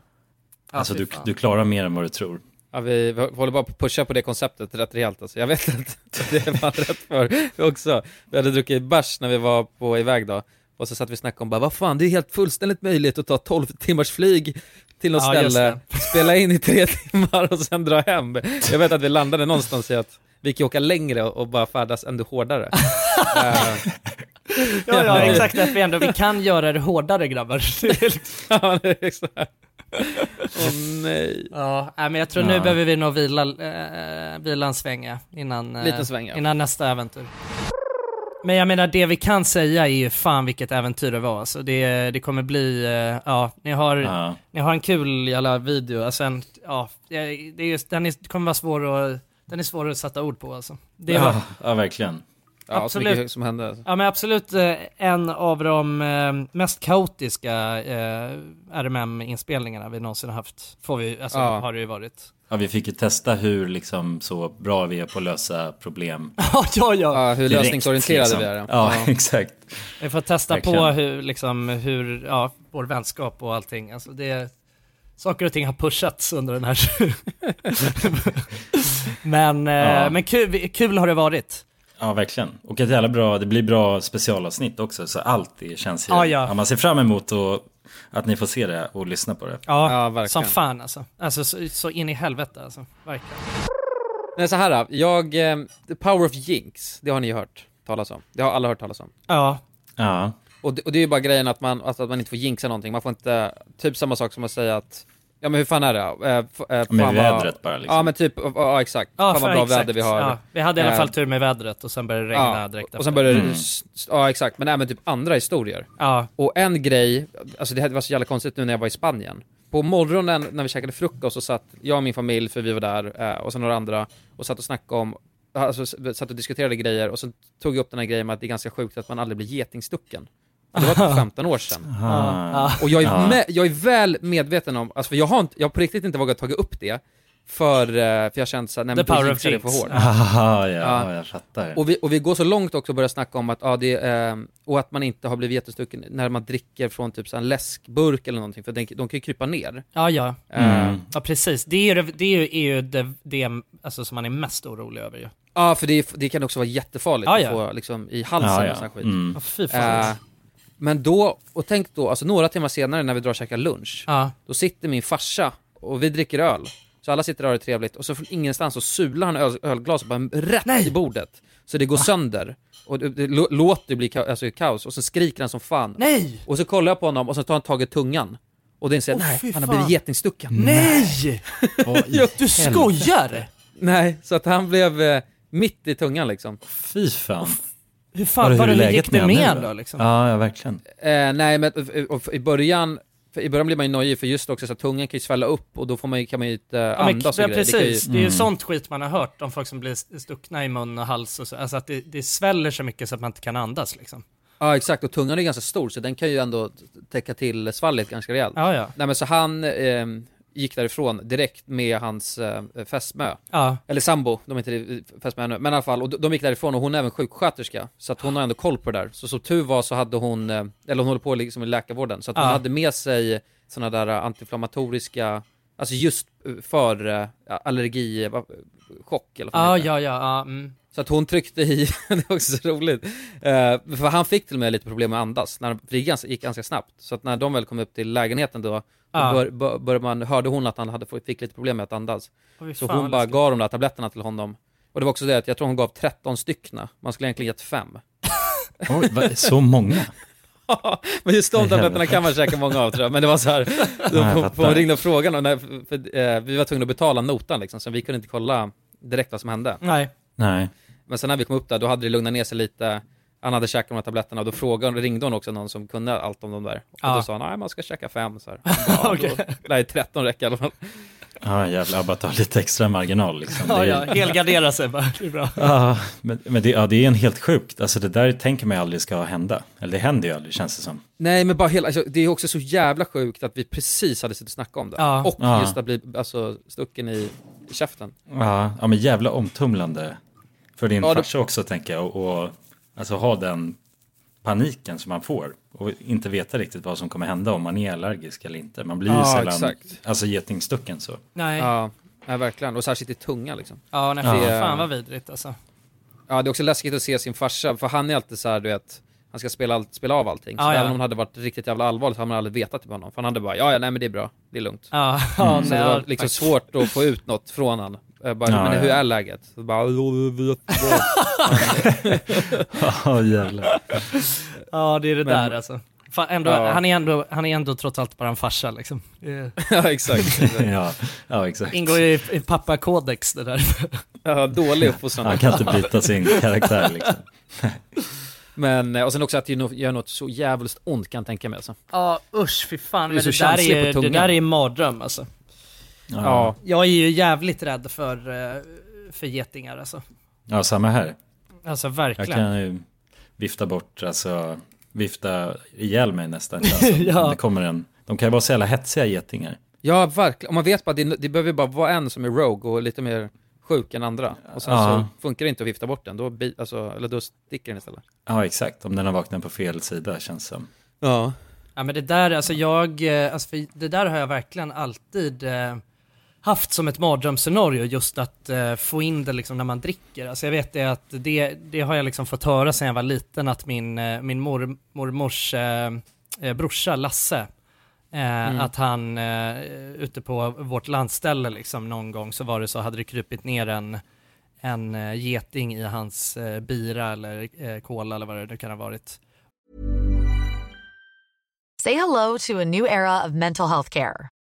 S1: Ja,
S2: Alltså
S1: fy
S2: du,
S1: fan.
S2: du klarar mer än vad du tror.
S5: Ja, vi, vi håller bara på att pusha på det konceptet rätt rejält alltså. Jag vet inte, det är man rätt för också. Vi hade druckit bärs när vi var på iväg då, och så satt vi och snackade om bara, vad fan, det är helt fullständigt möjligt att ta 12 timmars flyg till något
S1: Ja, just
S5: ställe, spela in i tre timmar och sen dra hem. Jag vet att vi landade någonstans i att vi kan åka längre och bara färdas ännu hårdare. Eh,
S1: ja, ja,
S5: Ja.
S1: exakt därför ändå, vi kan göra det hårdare grabbar. Det är liksom-
S5: ja, det är så här. Åh nej.
S1: ja, nej, men jag tror nu
S2: Ja.
S1: behöver vi nog vila, eh, vila en svänga innan, eh,
S5: Liten sväng, ja.
S1: innan nästa äventyr. Men jag menar det vi kan säga är ju fan vilket äventyr det var alltså. Det, det kommer bli, eh, ja, ni har,
S2: Ja.
S1: ni har en kul jävla video. Alltså en, ja, det är just, den är, kommer vara svår att, den är svår att sätta ord på alltså. Det var,
S2: Ja, ja, verkligen.
S5: Ja, så mycket
S1: Absolut.
S5: som hände. Alltså.
S1: Ja men absolut eh, en av de eh, mest kaotiska eh, RMM-inspelningarna vi någonsin har haft. Får vi, alltså,
S5: Ja.
S1: har det ju varit.
S2: Ja, vi fick ju testa hur liksom, så bra vi är på att lösa problem.
S1: ja, ja, ja.
S5: Ja, hur
S2: direkt,
S5: lösningsorienterade
S2: liksom.
S5: vi är.
S2: Ja, exakt.
S1: Vi får testa på
S2: Verkligen.
S1: hur, liksom, hur, ja, vår vänskap och allting. Alltså det, saker och ting har pushats under den här. men eh,
S2: Ja.
S1: men kul, kul har det varit.
S2: Ja, verkligen. Och ett jävla bra, det blir bra specialavsnitt också, så allt det känns ju...
S1: Ja, ja.
S2: man ser fram emot och, att ni får se det och lyssna på det.
S1: Ja,
S5: Ja, verkligen.
S1: som fan alltså. Alltså så, så in i helvete alltså. Verkligen.
S5: Nej så här, då. jag, eh, The Power of Jinx, det har ni ju hört talas om. Det har alla hört talas om.
S1: Ja,
S2: Ja,
S5: Och det, och det är ju bara grejen att man, alltså att man inte får jinxa någonting, man får inte, typ samma sak som att säga att Ja men hur fan är det? då? Eh, f- eh, fan vad-
S2: vädret bara, liksom.
S5: Ja men typ, ja, ja exakt.
S1: Ja,
S5: fan vad
S1: för-
S5: bra
S1: exakt.
S5: väder vi har.
S1: Ja, vi hade i alla
S5: Eh,
S1: fall tur med vädret och sen började det regna
S5: ja,
S1: direkt
S5: Och sen
S1: efter.
S5: började
S2: Mm.
S5: det, s- s- ja exakt, men även typ andra historier.
S1: Ja,
S5: Och en grej, alltså det här var så jävla konstigt nu när jag var i Spanien. På morgonen när vi käkade frukost så satt jag och min familj, för vi var där, eh, och sen några andra, och satt och snackade om, alltså s- satt och diskuterade grejer, och så tog jag upp den här grejen med att det är ganska sjukt att man aldrig blir getingstucken. Det var typ 15 år sedan.
S2: Ah.
S5: Och jag är, med, jag är väl medveten om, alltså för jag har, inte, jag har på riktigt inte vågat ta upp det, för, eh, för jag har känt såhär, nej men
S1: The
S5: då
S1: power of
S5: jinxar det för
S1: jinx.
S5: hårt.
S2: Aha, ja, jag fattar.
S5: Och vi, och vi går så långt också och börjar snacka om att, ja, det, är, eh, och att man inte har blivit jättestucken när man dricker från typ så här en läskburk eller någonting, för den, de kan ju krypa ner.
S1: ja, ja. Mm.
S5: Eh,
S1: ja precis. Det är ju det, är ju, är ju det, det alltså, som man är mest orolig över ju.
S5: Ja, för det, det kan också vara jättefarligt
S1: Ja,
S5: att
S1: Ah, ja.
S5: få liksom, i halsen
S2: ja,
S5: och sån
S2: ja.
S5: här skit.
S2: Mm.
S1: Ja, fy fan.
S5: Eh, men då, och tänk då, alltså några timmar senare när vi drar och käkar lunch,
S1: Ja.
S5: då sitter min farsa och vi dricker öl. Så alla sitter där och har det trevligt och så från ingenstans så sular han öl, ölglaset bara rätt i bordet. Så det går
S1: Ah.
S5: sönder. Och det, det lå- låter bli ka- alltså, kaos och så skriker han som fan.
S1: Nej!
S5: Och så kollar jag på honom och så tar han tag i tungan. Och den säger
S1: Åh,
S5: nej,
S1: fy
S5: han har
S1: fan."
S5: blivit getingstucken.
S1: Nej! Du skojar!
S5: Nej, så att han blev eh, mitt i tungan liksom.
S2: Fy fan.
S1: Hur
S2: Var
S1: fan, var
S2: hur
S1: det,
S2: är
S1: hur
S2: läget
S1: gick det
S2: honom nu
S1: med
S2: då?
S1: då liksom?
S2: Ja, ja, verkligen.
S5: Eh, nej, men och, och, i början, för i början blir man ju nojig för just också så att tungan kan ju svälla upp och då får man ju, kan man ju inte eh,
S1: Ja, men,
S5: andas
S1: ja,
S5: och grejer. Det kan ju,
S1: precis, det är ju sånt skit man har hört om folk som blir st- stuckna i mun och hals och så. Alltså att det, det sväller så mycket så att man inte kan andas liksom.
S5: Ja exakt, och tungan är ganska stor så den kan ju ändå täcka till svalget ganska rejält.
S1: Ja, ja.
S5: Nej men så han eh, gick därifrån direkt med hans eh, fästmö.
S1: Ja,
S5: Eller sambo, de är inte fästmö ännu, men i alla fall, och de- de gick därifrån och hon är även sjuksköterska, så att hon har ändå koll på det där. Så som tur var så hade hon, eh, eller hon håller på liksom i läkarvården, så att hon
S1: Ja.
S5: hade med sig sådana där eh, antiinflammatoriska, alltså just eh, för eh, allergi, eh, chock eller vad fan
S1: ja,
S5: heter.
S1: ja, ja. ja mm.
S5: Så att hon tryckte i, det är också så roligt. Eh, för han fick till och med lite problem med att andas, när, för det gick ganska, gick ganska snabbt. Så att när de väl kom upp till lägenheten då, då
S1: Ja.
S5: bör, bör, började man, hörde hon att han hade, fått- fick lite problem med att andas.
S1: Oj,
S5: Så
S1: fan, liksom-
S5: hon
S1: vad
S5: bara
S1: läskigt.
S5: gav de där tabletterna till honom. Och det var också det att jag tror hon gav 13 styckna, man skulle egentligen gett 5.
S2: Oj, vad, så många.
S5: men just de tabletterna kan man käka många av tror jag, men det var så här,
S2: jag
S5: då får
S2: fattar.
S5: man ringde och frågade, och när, för, för, eh, vi var tvungna att betala notan liksom, så vi kunde inte kolla direkt vad som hände.
S1: Nej.
S2: Nej.
S5: Men sen när vi kom upp där, då hade det lugnat ner sig lite. Han hade käkat de här tabletterna och då frågade hon, ringde hon också någon som kunde allt om de där. Och
S1: Ja.
S5: då sa han, nej man ska käka fem så här. Ja,
S1: Okej.
S5: då, nej, 13 räcker i alla fall.
S2: Ja, jävlar, bara ta lite extra marginal liksom. Det
S1: Ja,
S2: är-
S1: ja, helgardera sig bara. Det är bra.
S2: Ja, men, men det, ja, det är en helt sjukt. Alltså det där tänker man ju aldrig ska hända. Eller det händer ju aldrig känns det som.
S5: Nej men bara hela, alltså, det är också så jävla sjukt att vi precis hade suttit och snackat om det.
S1: Ja.
S5: Och
S2: Ja.
S5: just att bli alltså, stucken i i käften.
S2: Ja, ja men jävla omtumlande. För din
S5: Ja, det-
S2: farsa också tänker jag. Och, och alltså ha den paniken som man får. Och inte veta riktigt vad som kommer hända om man är allergisk eller inte. Man blir ju
S5: Ja,
S2: sällan
S5: exakt.
S2: alltså, getingstucken så.
S1: Nej. Ja,
S5: Ja, ja, verkligen. Och särskilt i tunga liksom.
S1: nej,
S2: Ja.
S1: fy fan vad vidrigt alltså.
S5: Ja, det är också läskigt att se sin farsa, för han är alltid så här, du vet, han ska spela, allt, spela av allting. Så
S1: Ja, ja.
S5: även om det hade varit riktigt jävla allvarligt så hade man aldrig vetat det på honom. För han hade bara, ja, ja, nej men det är bra, det är lugnt.
S1: Ja, ja
S5: Mm. Så det var liksom
S1: faktiskt.
S5: svårt att få ut något från han. Jag Bara,
S2: Ja,
S5: men hur
S2: ja.
S5: är läget? Så bara, "Jo, vi vet vad."
S2: Ja, jävlar.
S1: Ja, det är det
S5: Men-
S1: där alltså. Fan, ändå,
S5: Ja.
S1: han, är ändå, han är ändå trots allt bara en farsa liksom. Det
S5: ja, exakt.
S2: Ja, ja exakt.
S1: ingår ju i, i pappakodex det där.
S5: Ja, dålig
S2: Han
S5: uppfostran.
S2: kan inte byta sin karaktär liksom.
S5: Men, eh, och sen också att det nog- gör något så jävligt ont kan jag tänka mig alltså.
S1: Ja, usch fy fan.
S5: Du är
S1: Men
S5: så
S1: det, där
S5: känslig på
S1: är, det
S5: tungan.
S1: där är en mardröm alltså.
S5: Ja.
S1: Jag är ju jävligt rädd för, eh, för getingar alltså.
S2: ja, samma här.
S1: Alltså
S2: Jag
S1: verkligen.
S2: kan ju vifta bort, alltså vifta ihjäl mig nästan. Alltså,
S1: Ja.
S2: det kommer en, de kan ju vara så jävla hetsiga getingar.
S5: Ja, verkligen. Om man vet bara, det, det behöver ju bara vara en som är rogue och lite mer sjuk än andra. Och sen
S2: Ja.
S5: så funkar det inte att vifta bort den, då, bi, alltså, eller då sticker den istället.
S2: Ja, exakt. Om den har vaknat på fel sida känns som.
S5: Ja.
S1: Ja men det där, alltså jag, eh, alltså för det där har jag verkligen alltid eh, haft som ett mardrömsscenario just att eh, få in det liksom när man dricker. Alltså jag vet det att det, det har jag liksom fått höra sedan jag var liten att min, eh, min mor, mormors eh, eh, brorsa Lasse, eh,
S3: Mm.
S1: att han eh, ute på vårt landställe liksom någon gång så var det så, hade det krypit ner en en eh, geting i hans eh, bira eller eh, cola eller vad det nu kan ha varit.
S8: Say hello to a new era of mental health care.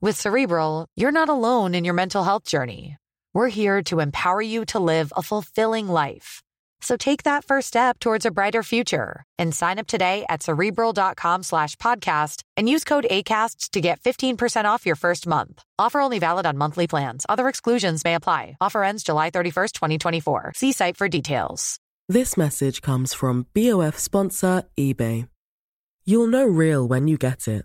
S8: With Cerebral, you're not alone in your mental health journey. We're here to empower you to live a fulfilling life. So take that first step towards a brighter future and sign up today at cerebral.com slash podcast and use code ACAST to get 15% off your first month. Offer only valid on monthly plans. Other exclusions may apply. Offer ends July 31st, 2024. See site for details.
S6: This message comes from BOF sponsor eBay. You'll know real when you get it.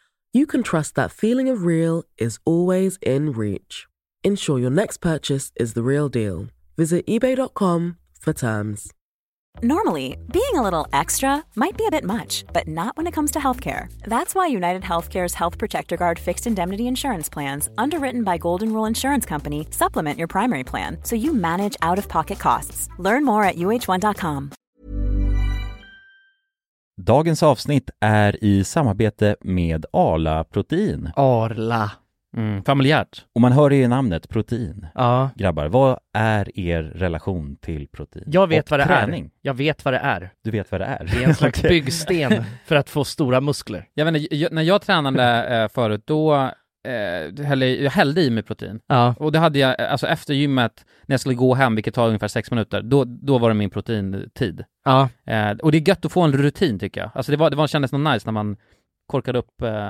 S6: you can trust that feeling of real is always in reach. Ensure your next purchase is the real deal. Visit eBay.com for terms.
S4: Normally, being a little extra might be a bit much, but not when it comes to healthcare. That's why United Healthcare's Health Protector Guard fixed indemnity insurance plans, underwritten by Golden Rule Insurance Company, supplement your primary plan so you manage out of pocket costs. Learn more at uh1.com.
S2: Dagens avsnitt är i samarbete med Arla Protein.
S5: Arla.
S3: Mm, familjärt.
S2: Och man hör det i namnet, protein.
S5: Ja.
S2: Grabbar, vad är er relation till protein?
S5: Jag vet
S2: Och
S5: vad det
S2: träning.
S5: är. Jag vet vad det är.
S2: Du vet vad det är?
S5: Det är en slags
S2: Okej.
S5: byggsten för att få stora muskler.
S3: Jag vet inte, jag, när jag tränade eh, förut, då eh, hällde jag jag hällde i mig protein.
S5: Ja.
S3: Och det hade jag, eh, alltså efter gymmet, när jag skulle gå hem, vilket tar ungefär sex minuter, då, då var det min proteintid.
S5: Ja.
S3: Eh, och det är gött att få en rutin tycker jag. Alltså det, var, det var, kändes nog nice när man korkade upp... Eh...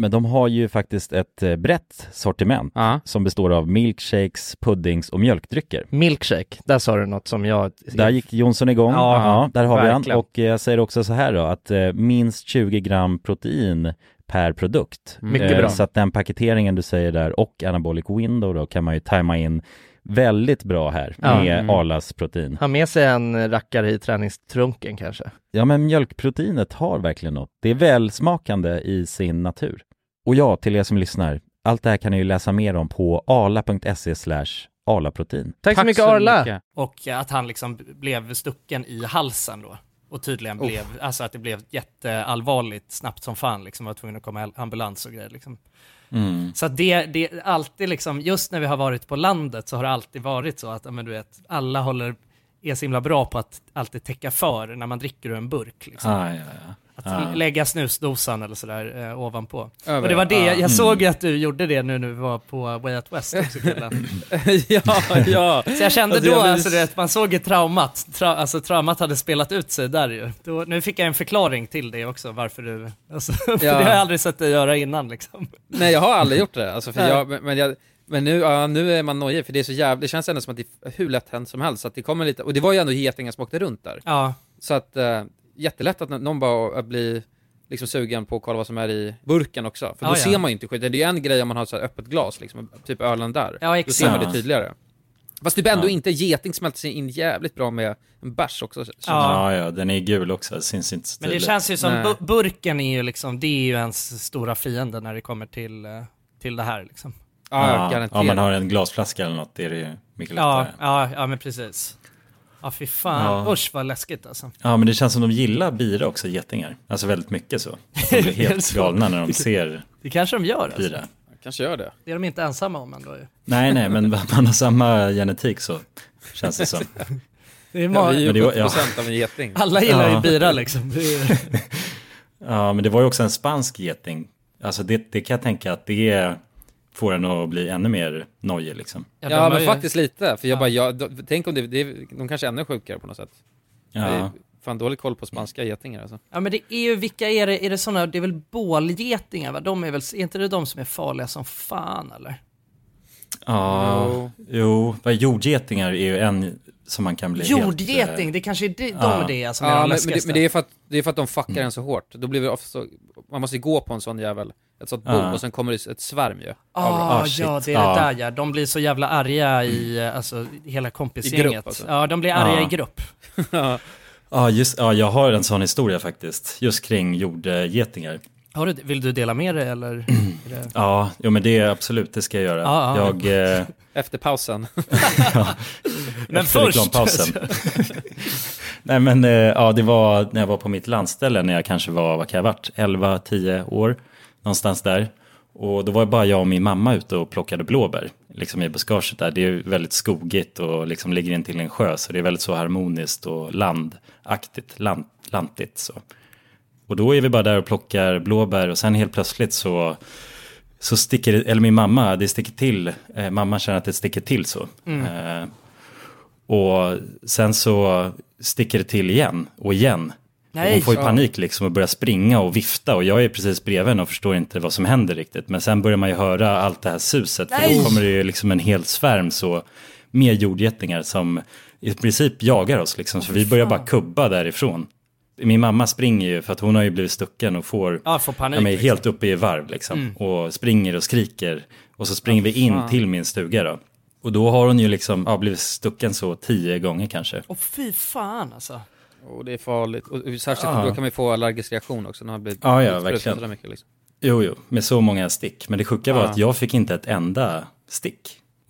S2: men de har ju faktiskt ett eh, brett sortiment
S3: Ja.
S2: som består av milkshakes, puddings och mjölkdrycker.
S5: Milkshake, där sa du något som jag...
S2: Där gick Jonsson igång.
S5: Ja,
S2: Ja, där har vi
S5: verkligen.
S2: han. Och eh, jag säger också så här då, att eh, minst 20 gram protein per produkt.
S5: Mm. Mycket
S2: Eh,
S5: bra.
S2: Så att den paketeringen du säger där och anabolic window då kan man ju tajma in väldigt bra här
S5: Ja.
S2: med
S3: Mm.
S2: Arlas protein.
S5: Ha med sig en rackare i träningstrunken kanske.
S2: Ja men mjölkproteinet har verkligen något. Det är välsmakande i sin natur. Och ja, till er som lyssnar, allt det här kan ni ju läsa mer om på arla.se slash arlaprotein.
S5: Tack, så mycket Arla!
S3: mycket.
S1: Och att han liksom blev stucken i halsen då. Och tydligen
S5: Oh.
S1: blev, alltså att det blev jätteallvarligt snabbt som fan liksom. Var tvungen att komma al- ambulans och grejer liksom.
S5: Mm.
S1: Så att det, det är alltid liksom, just när vi har varit på landet så har det alltid varit så att, ja, men du vet, alla håller, är så himla bra på att alltid täcka för när man dricker ur en burk liksom.
S9: Ah,
S1: Att lägga snusdosan eller sådär eh, ovanpå.
S3: Över,
S1: och det var det, jag,
S3: ja. Mm.
S1: jag såg ju att du gjorde det nu när vi var på Way Out West också killen.
S3: ja, ja.
S1: Så jag kände
S3: Alltså,
S1: då,
S3: jag blir-
S1: alltså, du vet, man såg ju traumat, Tra, alltså traumat hade spelat ut sig där ju. Då, nu fick jag en förklaring till det också, varför du, alltså, för
S3: Ja.
S1: det har jag aldrig sett dig göra innan liksom.
S3: Nej jag har aldrig gjort det, alltså, för
S1: Nej.
S3: jag, men- men, jag, men nu, ja, nu är man nojig för det är så jävla, det känns ändå som att det är hur lätt hänt som helst, så att det kommer lite, och det var ju ändå getingar som åkte runt där.
S1: Ja,
S3: Så att, eh, jättelätt att nå- någon bara blir liksom sugen på att kolla vad som är i burken också, för då
S1: Ja, ja.
S3: ser man ju inte skiten, det är ju en grej om man har så här öppet glas liksom, typ ölen där.
S1: Ja,
S3: Då
S1: exakt.
S3: ser man det
S2: Ja.
S3: tydligare. Fast typ ändå
S9: Ja.
S3: inte, geting smälter sig in jävligt bra med en bärs också. känns det
S1: Ja.
S3: som.
S9: Ja, ja, den är gul också, det syns inte så
S1: men det
S9: tydligt.
S1: känns ju som,
S3: Nej.
S1: bu- burken är ju liksom, det är ju ens stora fiende när det kommer till, eh, till det här liksom.
S3: ja,
S9: ja,
S3: garanterat.
S9: om man har en glasflaska eller något, det är det ju mycket
S1: Ja,
S9: lättare. Ja.
S1: ja, ja men precis. Ja fy fan,
S9: Ja.
S1: usch vad läskigt alltså.
S9: men det känns som de gillar bira också, getingar. Alltså väldigt mycket så. De blir
S1: Är det
S9: helt
S1: så?
S9: galna när de ser
S1: Det kanske de gör alltså.
S9: bira.
S5: Kanske gör det.
S1: Det är de inte ensamma om ändå ju.
S2: Nej, nej, men man har samma genetik så känns det som.
S1: Det är
S5: Ja, vi är
S2: Men det
S5: ju
S2: var-
S5: 70%
S2: ja.
S5: av en geting.
S1: Alla gillar
S2: Ja.
S1: ju bira liksom. Det är...
S2: Ja, men det var ju också en spansk geting. Alltså det, det kan jag tänka att det får en att bli ännu mer nojig liksom.
S1: Ja, de
S5: Ja,
S1: har
S5: men
S1: ju-
S5: faktiskt lite. För jag bara, ja, de, tänk om det, det, är- de kanske är ännu sjukare på något sätt. Jag är
S2: Ja,
S5: fan dålig koll på spanska getingar alltså.
S1: Ja men det är ju, vilka är det? Är det sådana, det är väl bålgetingar va? De är väl, är inte det de som är farliga som fan eller?
S2: ja jo, vad- jordgetingar är ju en som man kan bli helt, eh,
S1: Jordgeting, det kanske är de, de
S2: ja.
S1: det är som är
S5: Ja,
S1: de
S5: men, men, det,
S1: läskigaste.
S5: men det är för att, det är för att de fuckar en så hårt. Då blir det ofta så, man måste ju gå på en sån jävel, ett sånt bord,
S2: Ja.
S5: och sen kommer det ett svärm ju.
S1: Ah,
S2: Ah, shit.
S1: ja, det är
S2: Ja. Mm.
S1: det där ja. De blir så jävla arga i eh, alltså, hela kompisgänget.
S5: I grupp, alltså.
S1: Ja, de blir arga
S2: Ah.
S1: i grupp.
S2: Ja, just, ja, jag har en sån historia faktiskt, just kring jordgetingar.
S1: Har du, vill du dela med dig eller?
S2: Mm.
S1: är det...
S2: Ja, jo men det är absolut, det ska jag göra.
S1: Ja, ja.
S2: Jag, eh,
S5: Efter pausen.
S1: Men
S2: efter
S1: först!
S2: reklampausen. Nej men eh, ja, det var när jag var på mitt landställe när jag kanske var, vad kan jag ha varit, 11-10 år. Någonstans där. Och då var bara jag och min mamma ute och plockade blåbär. Liksom i buskaget där. Det är ju väldigt skogigt och liksom ligger in till en sjö. Så det är väldigt så harmoniskt och landaktigt, land, lantigt så. Och då är vi bara där och plockar blåbär och sen helt plötsligt så så sticker det, eller min mamma, det sticker till, eh, mamma känner att det sticker till så.
S1: Mm.
S2: Eh, och sen så sticker det till igen och igen.
S1: Nej,
S2: och hon får ju
S1: ja.
S2: panik liksom och börjar springa och vifta och jag är precis bredvid henne och förstår inte vad som händer riktigt. Men sen börjar man ju höra allt det här suset för
S1: Nej.
S2: då kommer det ju liksom en hel svärm så med jordgetingar som i princip jagar oss liksom. Så vi börjar bara kubba därifrån. Min mamma springer ju för att hon har ju blivit stucken och får
S1: Ja, får panik.
S2: Ja, men är
S1: liksom. Mm.
S2: helt uppe i varv liksom. Och springer och skriker. Och så springer vi
S1: Ah,
S2: in till min stuga då. Och då har hon ju liksom, ja, blivit stucken så tio gånger kanske.
S1: Åh fy fan alltså.
S5: Och det är farligt. Och, och särskilt
S2: Ja.
S5: då kan man ju få allergisk reaktion också när man blir
S2: Ja, ja,
S5: utsprutat
S2: verkligen.
S5: sådär mycket, liksom.
S2: Jo, jo, med så många stick. Men det sjuka var
S1: Ah.
S5: Ja.
S2: att jag fick inte ett enda stick.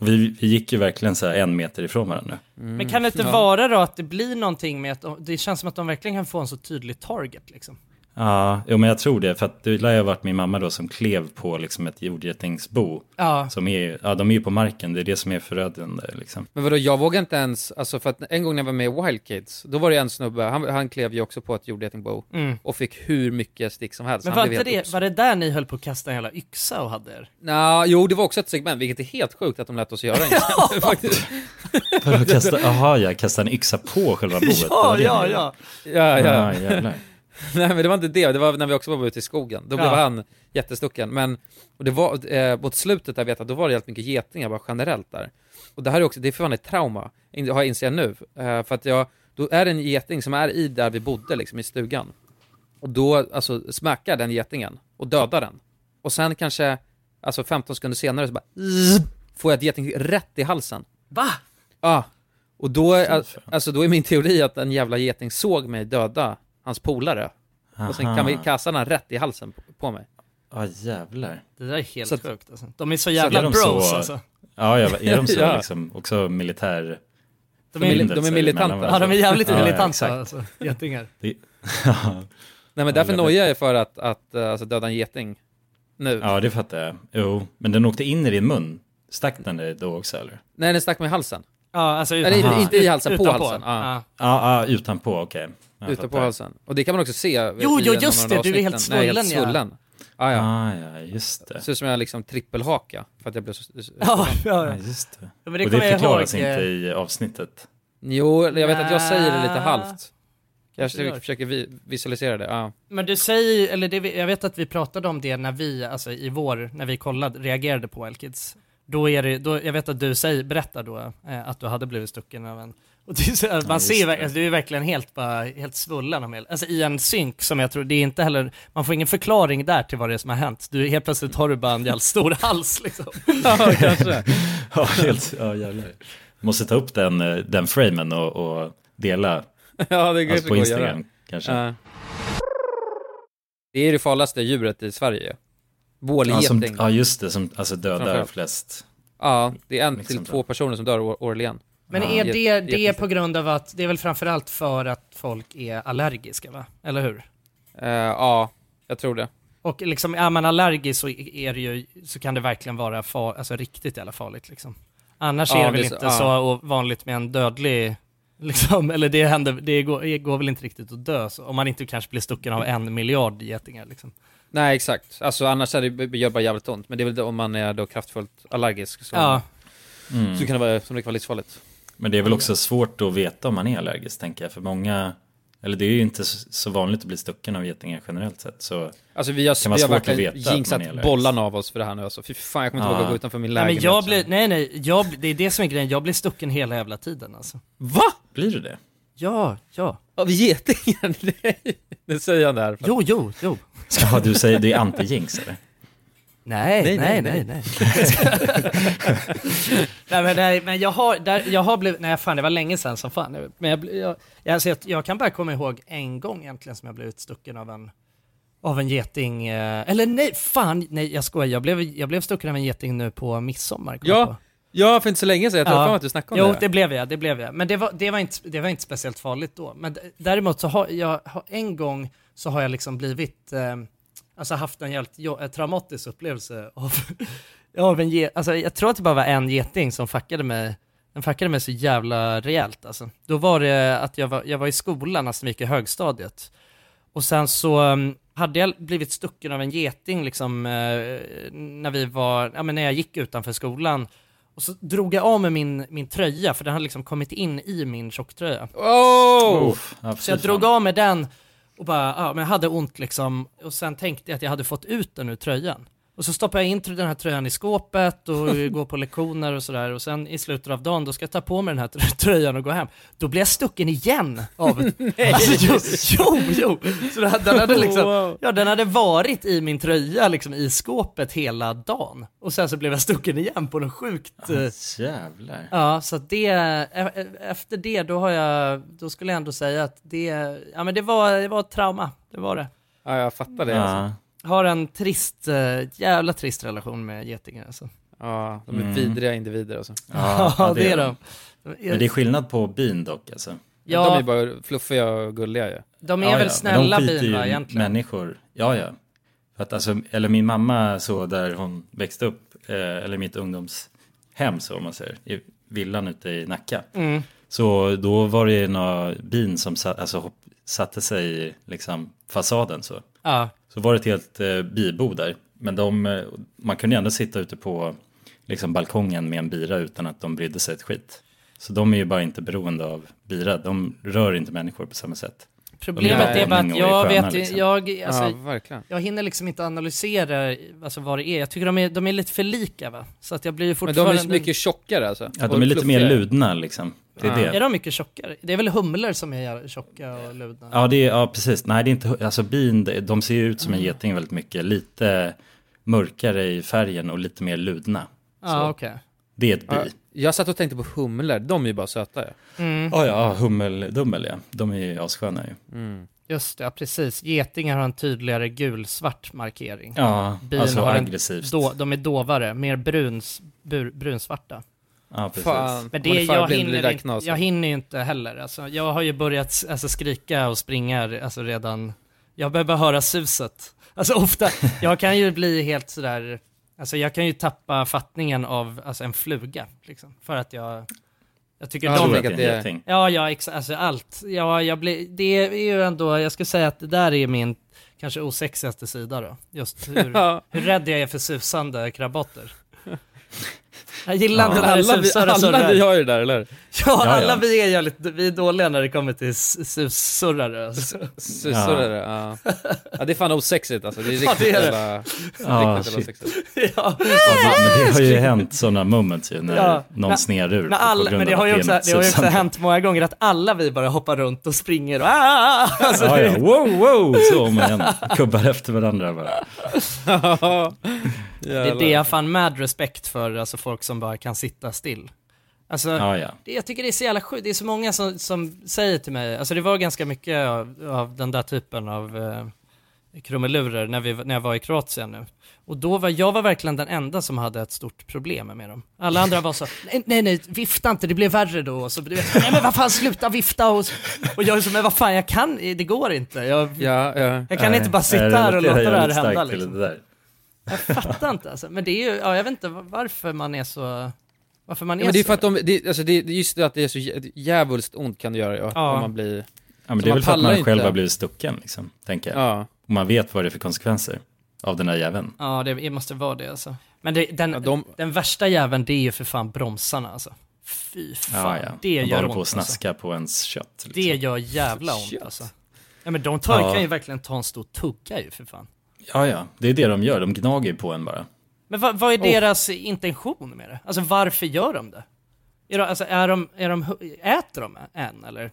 S2: Och vi, vi gick ju verkligen så här en meter ifrån varandra.
S1: Men kan det inte vara då att det blir någonting med att de, det känns som att de verkligen kan få en så tydlig target liksom?
S2: Ja, jo, men jag tror det. För att det lär ju ha varit min mamma då som klev på liksom ett jordgetingsbo.
S1: Ja.
S2: Som är, ja, de är ju på marken, det är det som är förödande liksom.
S5: Men vadå, jag vågar inte ens, alltså för att en gång när jag var med i Wild Kids, då var det en snubbe, han, han klev ju också på ett jordgetingbo och fick hur mycket stick som helst.
S1: Mm. Men
S5: Han
S1: var,
S5: blev
S1: inte
S5: helt
S1: det,
S5: obs-
S1: var det där ni höll på att kasta en jävla yxa och hade er?
S5: Nja, jo det var också ett segment, vilket är helt sjukt att de lät oss göra det. Faktiskt.
S2: Vadå, kasta- Jaha, jag kastade en yxa på själva boet. Det var det ni gjorde.
S5: Ja, ja.
S2: Ja, jävlar.
S5: Nej men det var inte det, det var när vi också var ute i skogen. Då blev
S1: Ja.
S5: han jättestucken. Men, och det var, eh, mot slutet där vet jag, då var det jävligt mycket getingar bara generellt där. Och det här är också, det är för fan ett trauma, in- har jag inser jag nu. Eh, för att jag, då är det en geting som är i där vi bodde liksom i stugan. Och då, alltså smackar den getingen och dödar den. Och sen kanske, alltså 15 sekunder senare så bara, zzz, får jag ett geting rätt i halsen.
S1: Va?
S5: Ja, och då, är- alltså, då är min teori att en jävla geting såg mig döda hans polare. Och sen kan vi kasta den rätt i halsen på, på mig.
S2: Ja, jävlar.
S1: Det där är helt
S5: Så att-
S1: sjukt alltså. De är så
S2: är
S1: jävla
S2: de
S1: bros
S2: så-
S1: alltså.
S2: Ja, ja, är de så
S5: Ja.
S2: liksom? Också militär...
S1: De är-
S5: de är militanta.
S1: Ja, de är jävligt
S2: Ja, ja,
S1: militanta
S2: exakt.
S1: alltså. Getingar.
S5: Nej men därför
S2: jag vet.
S5: nojar jag för att, att eh, alltså, döda en geting nu.
S2: ja, det fattar jag. Jo, men den åkte in i din mun. Stack den dig då också, eller?
S5: Nej den stack mig i halsen.
S1: Ja, alltså ut-
S5: Eller inte- inte i
S1: ut-
S5: halsen, på
S1: utanpå.
S5: halsen. Ja.
S1: Ja.
S2: Ja, ja, utanpå, okej. Jag
S5: Ute på
S2: fattar.
S5: halsen. Och det kan man också se. i-
S1: Jo,
S5: i
S1: jo,
S5: en av
S1: just
S5: de här
S1: det, du är helt
S5: avsnitten. Nej, helt
S1: svullen, ja.
S5: svullen. Ah, ja.
S2: Ah, ja, just det.
S5: Ser ut som jag liksom trippelhaka för att jag blev så... så-
S1: Ja,
S2: Ja,
S1: ja, ja.
S2: just det.
S1: Men det
S2: Och det
S1: kommer jag
S2: förklaras
S1: ihåg, eh,
S2: inte i avsnittet.
S5: Jo, jag vet att jag säger det lite
S1: Nja.
S5: halvt. Jag
S1: Kanske gör.
S5: försöker vi, visualisera det. Ja.
S1: Men du säger ju- eller det, vi- jag vet att vi pratade om det när vi, alltså i vår, när vi kollade, reagerade på Elkids. Då är det, då, jag vet att du säger, berättar då eh, att du hade blivit stucken av en. Och det är så, här, man
S2: just
S1: ser ju ver-
S2: det.
S1: alltså, du är verkligen helt, bara, helt svullen om hel- Alltså i en synk som jag tror, det är inte heller, man får ingen förklaring där till vad det är som har hänt. Du, helt plötsligt har du bara en jävla stor hals liksom.
S5: ja, kanske.
S2: Ja, helt, ja jävlar. Måste ta upp den, eh, den framen och, och dela.
S5: Ja, det
S2: Alltså
S5: kanske
S2: på
S5: går att göra.
S2: Instagram, kanske.
S5: Ja. Det är det farligaste djuret i Sverige.
S2: Ja, som,
S5: Bålgeting.
S2: ja, just det. Som, alltså dödar
S5: Framförallt.
S2: flest.
S5: Ja, det är en
S2: Liksom
S5: till
S2: så.
S5: två personer som dör år- årligen.
S1: Men
S5: Ja.
S1: är det, det är
S5: Jättesnyggt.
S1: på grund av att, det är väl framförallt för att folk är allergiska va? Eller hur?
S5: Eh, ja, jag tror det.
S1: Och liksom, är man allergisk så, är det ju, så kan det verkligen vara far, alltså riktigt jävla farligt. Liksom. Annars
S5: Ja,
S1: är det
S5: det
S1: väl
S5: är så-
S1: inte
S5: ja.
S1: så och vanligt med en dödlig, liksom, eller det, händer, det går, det går väl inte riktigt att dö, så, om man inte kanske blir stucken av en miljard getingar. Liksom.
S5: Nej exakt, alltså annars är det, det gör bara jävligt ont. Men det är väl det, om man är då kraftfullt allergisk så,
S1: Ja.
S2: Mm.
S5: så kan det vara, som det kan vara livsfarligt.
S2: Men det är väl också svårt att veta om man är allergisk, tänker jag. För många, eller det är ju inte så så vanligt att bli stucken av getingar generellt sett. Så
S5: Alltså vi
S2: Kan
S5: har,
S2: vara
S5: vi har
S2: svårt att
S5: verkligen
S2: veta att man är
S5: jinxat
S2: allergisk.
S5: bollan av oss för det här nu alltså. Fy fan jag kommer inte
S2: Ja.
S5: våga gå utanför min
S1: Nej, men
S5: lägenhet.
S1: jag
S5: sen.
S1: blir, nej, nej, jag, det är det som är grejen, jag blir stucken hela jävla tiden alltså.
S5: Va?
S2: blir du det?
S1: Ja, ja.
S5: Av getingen? Nej! Nu säger han det här.
S1: Jo, jo, jo.
S2: Ja, du säger det är anti-jinx eller?
S1: Nej,
S5: Nej,
S1: nej,
S5: nej,
S1: nej, nej. Nej, nej, men, nej men jag har, där, jag har blivit, nej fan det var länge sedan som fan. Men jag, bli- jag, jag, alltså, jag, jag kan bara komma ihåg en gång egentligen som jag blev utstucken av en, av en geting, eh, eller nej, fan, nej jag skojar, jag blev, jag blev stucken av en geting nu på midsommar. kom jag på.
S5: Ja, ja för inte så länge sedan. Jag tror
S1: Ja.
S5: fan att du snackade om
S1: Jo,
S5: det.
S1: det blev jag, det blev jag. Men det var, det var, inte, det var inte speciellt farligt då. Men d- däremot så har jag, har en gång så har jag liksom blivit, eh, alltså haft en helt jo- eh, traumatisk upplevelse av, av en ge- alltså jag tror att det bara var en geting som fuckade mig, den fuckade mig så jävla rejält alltså. Då var det att jag var, jag var i skolan, alltså när jag gick i högstadiet. Och sen så um, hade jag blivit stucken av en geting liksom eh, när vi var, ja men när jag gick utanför skolan. Och så drog jag av mig min, min tröja, för den hade liksom kommit in i min tjocktröja.
S5: Oh!
S2: Ja,
S1: Så jag
S2: fy
S1: drog
S2: fan.
S1: av mig den och bara, ja men jag hade ont liksom. Och sen tänkte jag att jag hade fått ut den ur tröjan. Och så stoppar jag in den här tröjan i skåpet och går på lektioner och sådär. Och sen i slutet av dagen, då ska jag ta på mig den här tr- tröjan och gå hem. Då blir jag stucken igen av... Nej. Alltså, jo, jo, jo! Så den, den hade liksom... Ja, den hade varit i min tröja liksom i skåpet hela dagen. Och sen så blev jag stucken igen på något sjukt... eh,
S2: Jävlar.
S1: Ja, så att det, e- e- efter det då har jag, då skulle jag ändå säga att det, ja men det var, det var ett trauma, det var det.
S5: Ja, jag fattar det alltså.
S2: Ja.
S1: Har en trist, eh, jävla trist relation med getingar alltså.
S5: Ja, de är
S2: Mm.
S5: vidriga individer alltså.
S2: Ja,
S1: det är
S2: det.
S1: de. De
S2: Men
S1: är-
S2: det är skillnad på bin dock alltså.
S1: Ja,
S5: De är bara fluffiga och gulliga ju.
S1: de är
S2: Ja,
S1: väl
S2: ja, men
S1: snälla
S2: de skiter
S1: bin
S2: ju
S1: va,
S2: i
S1: egentligen.
S2: människor. Ja, ja. För att, alltså, eller min mamma så där hon växte upp, eh, eller mitt ungdomshem så om man säger, i villan ute i Nacka.
S1: Mm.
S2: Så då var det några bin som satt, alltså, hopp, satte sig i liksom, fasaden så.
S1: Ja,
S2: Så var det ett helt eh, bibo där. Men de, eh, man kunde ändå sitta ute på liksom, balkongen med en bira utan att de brydde sig ett skit. Så de är ju bara inte beroende av bira, de rör inte människor på samma sätt.
S1: problemet
S2: Ja.
S1: är bara att
S2: Många år
S1: jag
S2: i sköna,
S1: vet ju-
S2: liksom.
S1: jag, alltså,
S5: ja, verkligen.
S1: jag hinner liksom inte analysera alltså, vad det är. Jag tycker de är, de är lite för lika va? Så att jag blir ju
S5: Men de
S1: fortfarande...
S5: är mycket tjockare alltså.
S2: Ja, de
S5: Och
S2: är lite mer
S5: fluffigare.
S2: ludna liksom. Det är
S5: Ja.
S2: det.
S1: Ah. Är de mycket tjockare? Det är väl humlor som är tjocka och ludna?
S2: Ja, det är, ja, precis. Nej, det är inte, alltså bin, de- de ser ju ut
S1: Mm.
S2: som en geting väldigt mycket. Lite mörkare i färgen och lite mer ludna.
S1: Ja, okej.
S2: Det är ett bi.
S5: Ja, jag satt och tänkte på humlor, de är ju bara söta ju.
S1: Mm.
S2: Ja, Ah, ja, hummeldummel ja. De är ju assköna ju.
S1: Just det, ja, precis. Getingar har en tydligare gulsvart markering.
S2: Ja,
S1: Bin
S2: alltså
S1: har en
S2: aggressivt.
S1: Då, de är dovare, mer bruns, bur, brunsvarta.
S2: Ja, precis.
S5: Fan,
S1: Men det,
S5: hon är fan
S1: jag,
S5: blind i det
S1: hinner
S5: där
S1: inte,
S5: knaset.
S1: jag hinner ju inte heller. Alltså, jag har ju börjat alltså, skrika och springa alltså, redan. Jag behöver bara höra suset. Alltså ofta, jag kan ju bli helt sådär, alltså jag kan ju tappa fattningen av alltså, en fluga. Liksom, för att jag, jag tycker
S5: Ja,
S2: Jag
S1: de
S2: tror
S5: men-
S2: att det är en geting.
S1: Ja, ja, exakt. Alltså allt. Ja, jag blir, det är ju ändå, jag skulle säga att det där är min kanske osexigaste sida då. Just hur,
S5: Ja.
S1: hur rädd jag är för susande krabater. Jag gillar inte när det
S5: Alla, vi,
S1: susar och
S5: alla
S1: surrar.
S5: vi har ju det där, eller?
S1: Ja,
S2: Ja,
S1: alla
S2: ja.
S1: vi är jävligt, vi är dåliga när det kommer till s- sussurrare. Alltså.
S5: Så, så
S2: Ja.
S5: är det, ja. ja. det är fan osexigt alltså. Det är riktigt
S1: Ja, det är det.
S5: jävla...
S2: Ja,
S5: riktigt jävla
S2: shit.
S5: osexigt.
S1: Ja.
S2: Ja, det- men det har ju hänt sådana moments ju när
S1: Ja.
S2: någon
S1: Men-
S2: snerar ur
S1: Men, alla,
S2: på grund
S1: men det
S2: av
S1: har ju
S2: att
S1: också,
S2: benet
S1: det har ju också
S2: susar.
S1: hänt många gånger att alla vi bara hoppar runt och springer och "Ah!" alltså,
S2: Ja, ja. Wow, wow, så om igen. Kubbar efter varandra bara.
S1: Det är det jag har fan mad respekt för, alltså folk som bara kan sitta still. Alltså,
S2: Ja, ja.
S1: Det- Jag tycker det är så jävla sjukt. Det är så många som, som säger till mig, alltså det var ganska mycket av, av den där typen av eh, krumelurer när, vi, när jag var i Kroatien nu. Och då var jag var verkligen den enda som hade ett stort problem med dem. Alla andra var så, nej, nej, nej vifta inte, det blir värre då. Och så, du vet, nej men vad fan, sluta vifta. Och, så, och jag är så, men vad fan, jag kan, det går inte. Jag,
S3: ja, ja.
S1: jag kan
S2: Nej,
S1: inte bara sitta
S2: Eh, jag
S1: här och låta
S2: relaterar
S1: det här
S2: väldigt
S1: hända.
S2: starkt till
S1: Liksom.
S2: det där.
S1: Jag fattar inte alltså. Men det är ju, ja, jag vet inte varför man är så, varför man är,
S3: Ja, men det är för
S1: så.
S3: att de, det, alltså det, just det att det är så jä- djävulskt ont kan det göra ja,
S1: Ja.
S3: om man blir,
S2: Ja, men
S3: Så
S2: det är
S3: man
S2: väl för att
S3: pallar
S2: man
S3: inte.
S2: själv har blivit stucken, liksom, tänker jag.
S3: ja.
S2: Och man vet vad det är för konsekvenser av den här jäveln.
S1: Ja, det måste vara det alltså. Men det, den,
S3: Ja, de-
S1: den värsta jäveln, det är ju för fan bromsarna alltså. Fy fan,
S2: Ja, ja.
S1: det
S2: Man
S1: gör
S2: håller
S1: ont
S2: på att
S1: alltså.
S2: snaska på ens kött. Liksom.
S1: Det gör jävla ont
S3: Shit.
S1: alltså. Ja men de tar,
S2: Ja.
S1: kan ju verkligen ta en stor tugga ju för fan.
S2: Ja, ja. Det är det de gör. De gnager på en bara.
S1: Men vad, vad är deras intention med det? Alltså varför gör de det? Är de, alltså, är de, är de, hu- äter de än eller?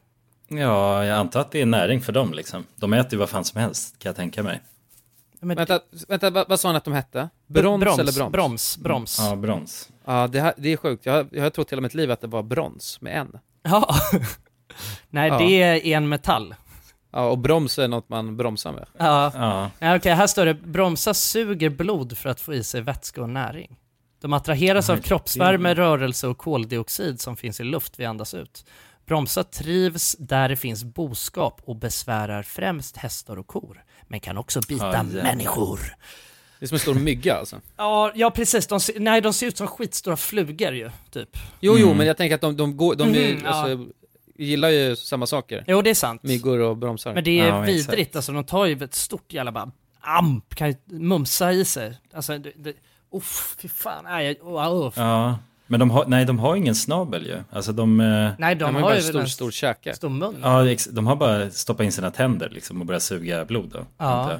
S2: Ja, jag antar att det är näring för dem, liksom. De äter ju vad fan som helst, kan jag tänka mig.
S1: Ja, men-
S3: Vänta, vänta vad, vad sa han att de hette? Brons, eller broms?
S1: Broms, broms.
S2: Ja, brons.
S3: Ja, det, här, det är sjukt. Jag, har- jag har trott hela mitt liv att det var brons med en.
S1: Ja. Nej,
S3: Ja.
S1: det är en metall.
S3: Ja, och broms är något man bromsar med.
S1: Ja.
S2: Ja,
S1: Ja, Okej, här står det bromsar suger blod för att få i sig vätska och näring. De attraheras av kroppsvärme, rörelse och koldioxid som finns i luft vi andas ut. Bromsar trivs där det finns boskap och besvärar främst hästar och kor, men kan också bita
S2: Ja, jävlar.
S1: människor.
S3: Det är som en stor mygga alltså.
S1: Ja, ja precis. De, ser- nej, de ser ut som skitstora flugor ju, typ.
S3: Jo, jo,
S5: Mm.
S3: men jag tänker att de, de, går, de är,
S5: Mm-hmm.
S1: Mhm, ja.
S3: alltså, gillar ju samma saker.
S1: Jo, det är sant.
S3: Myggor och bromsar.
S1: Men det är
S2: Ja, exakt.
S1: vidrigt, alltså de tar ju ett stort jävla bara amp, kan ju mumsa i sig. Alltså, det, det, uff, fy fan, nej, jag- åh, åh.
S2: ja. Men de har, nej, de har ingen snabel ju. Alltså de... eh,
S1: nej de
S3: de har
S1: har
S3: bara
S1: ju
S3: en
S1: väl
S3: stor,
S1: en
S3: stor käke.
S1: stor mun.
S2: Ja, ex- de har bara stoppat in sina tänder liksom och börjat suga blod då. antar jag.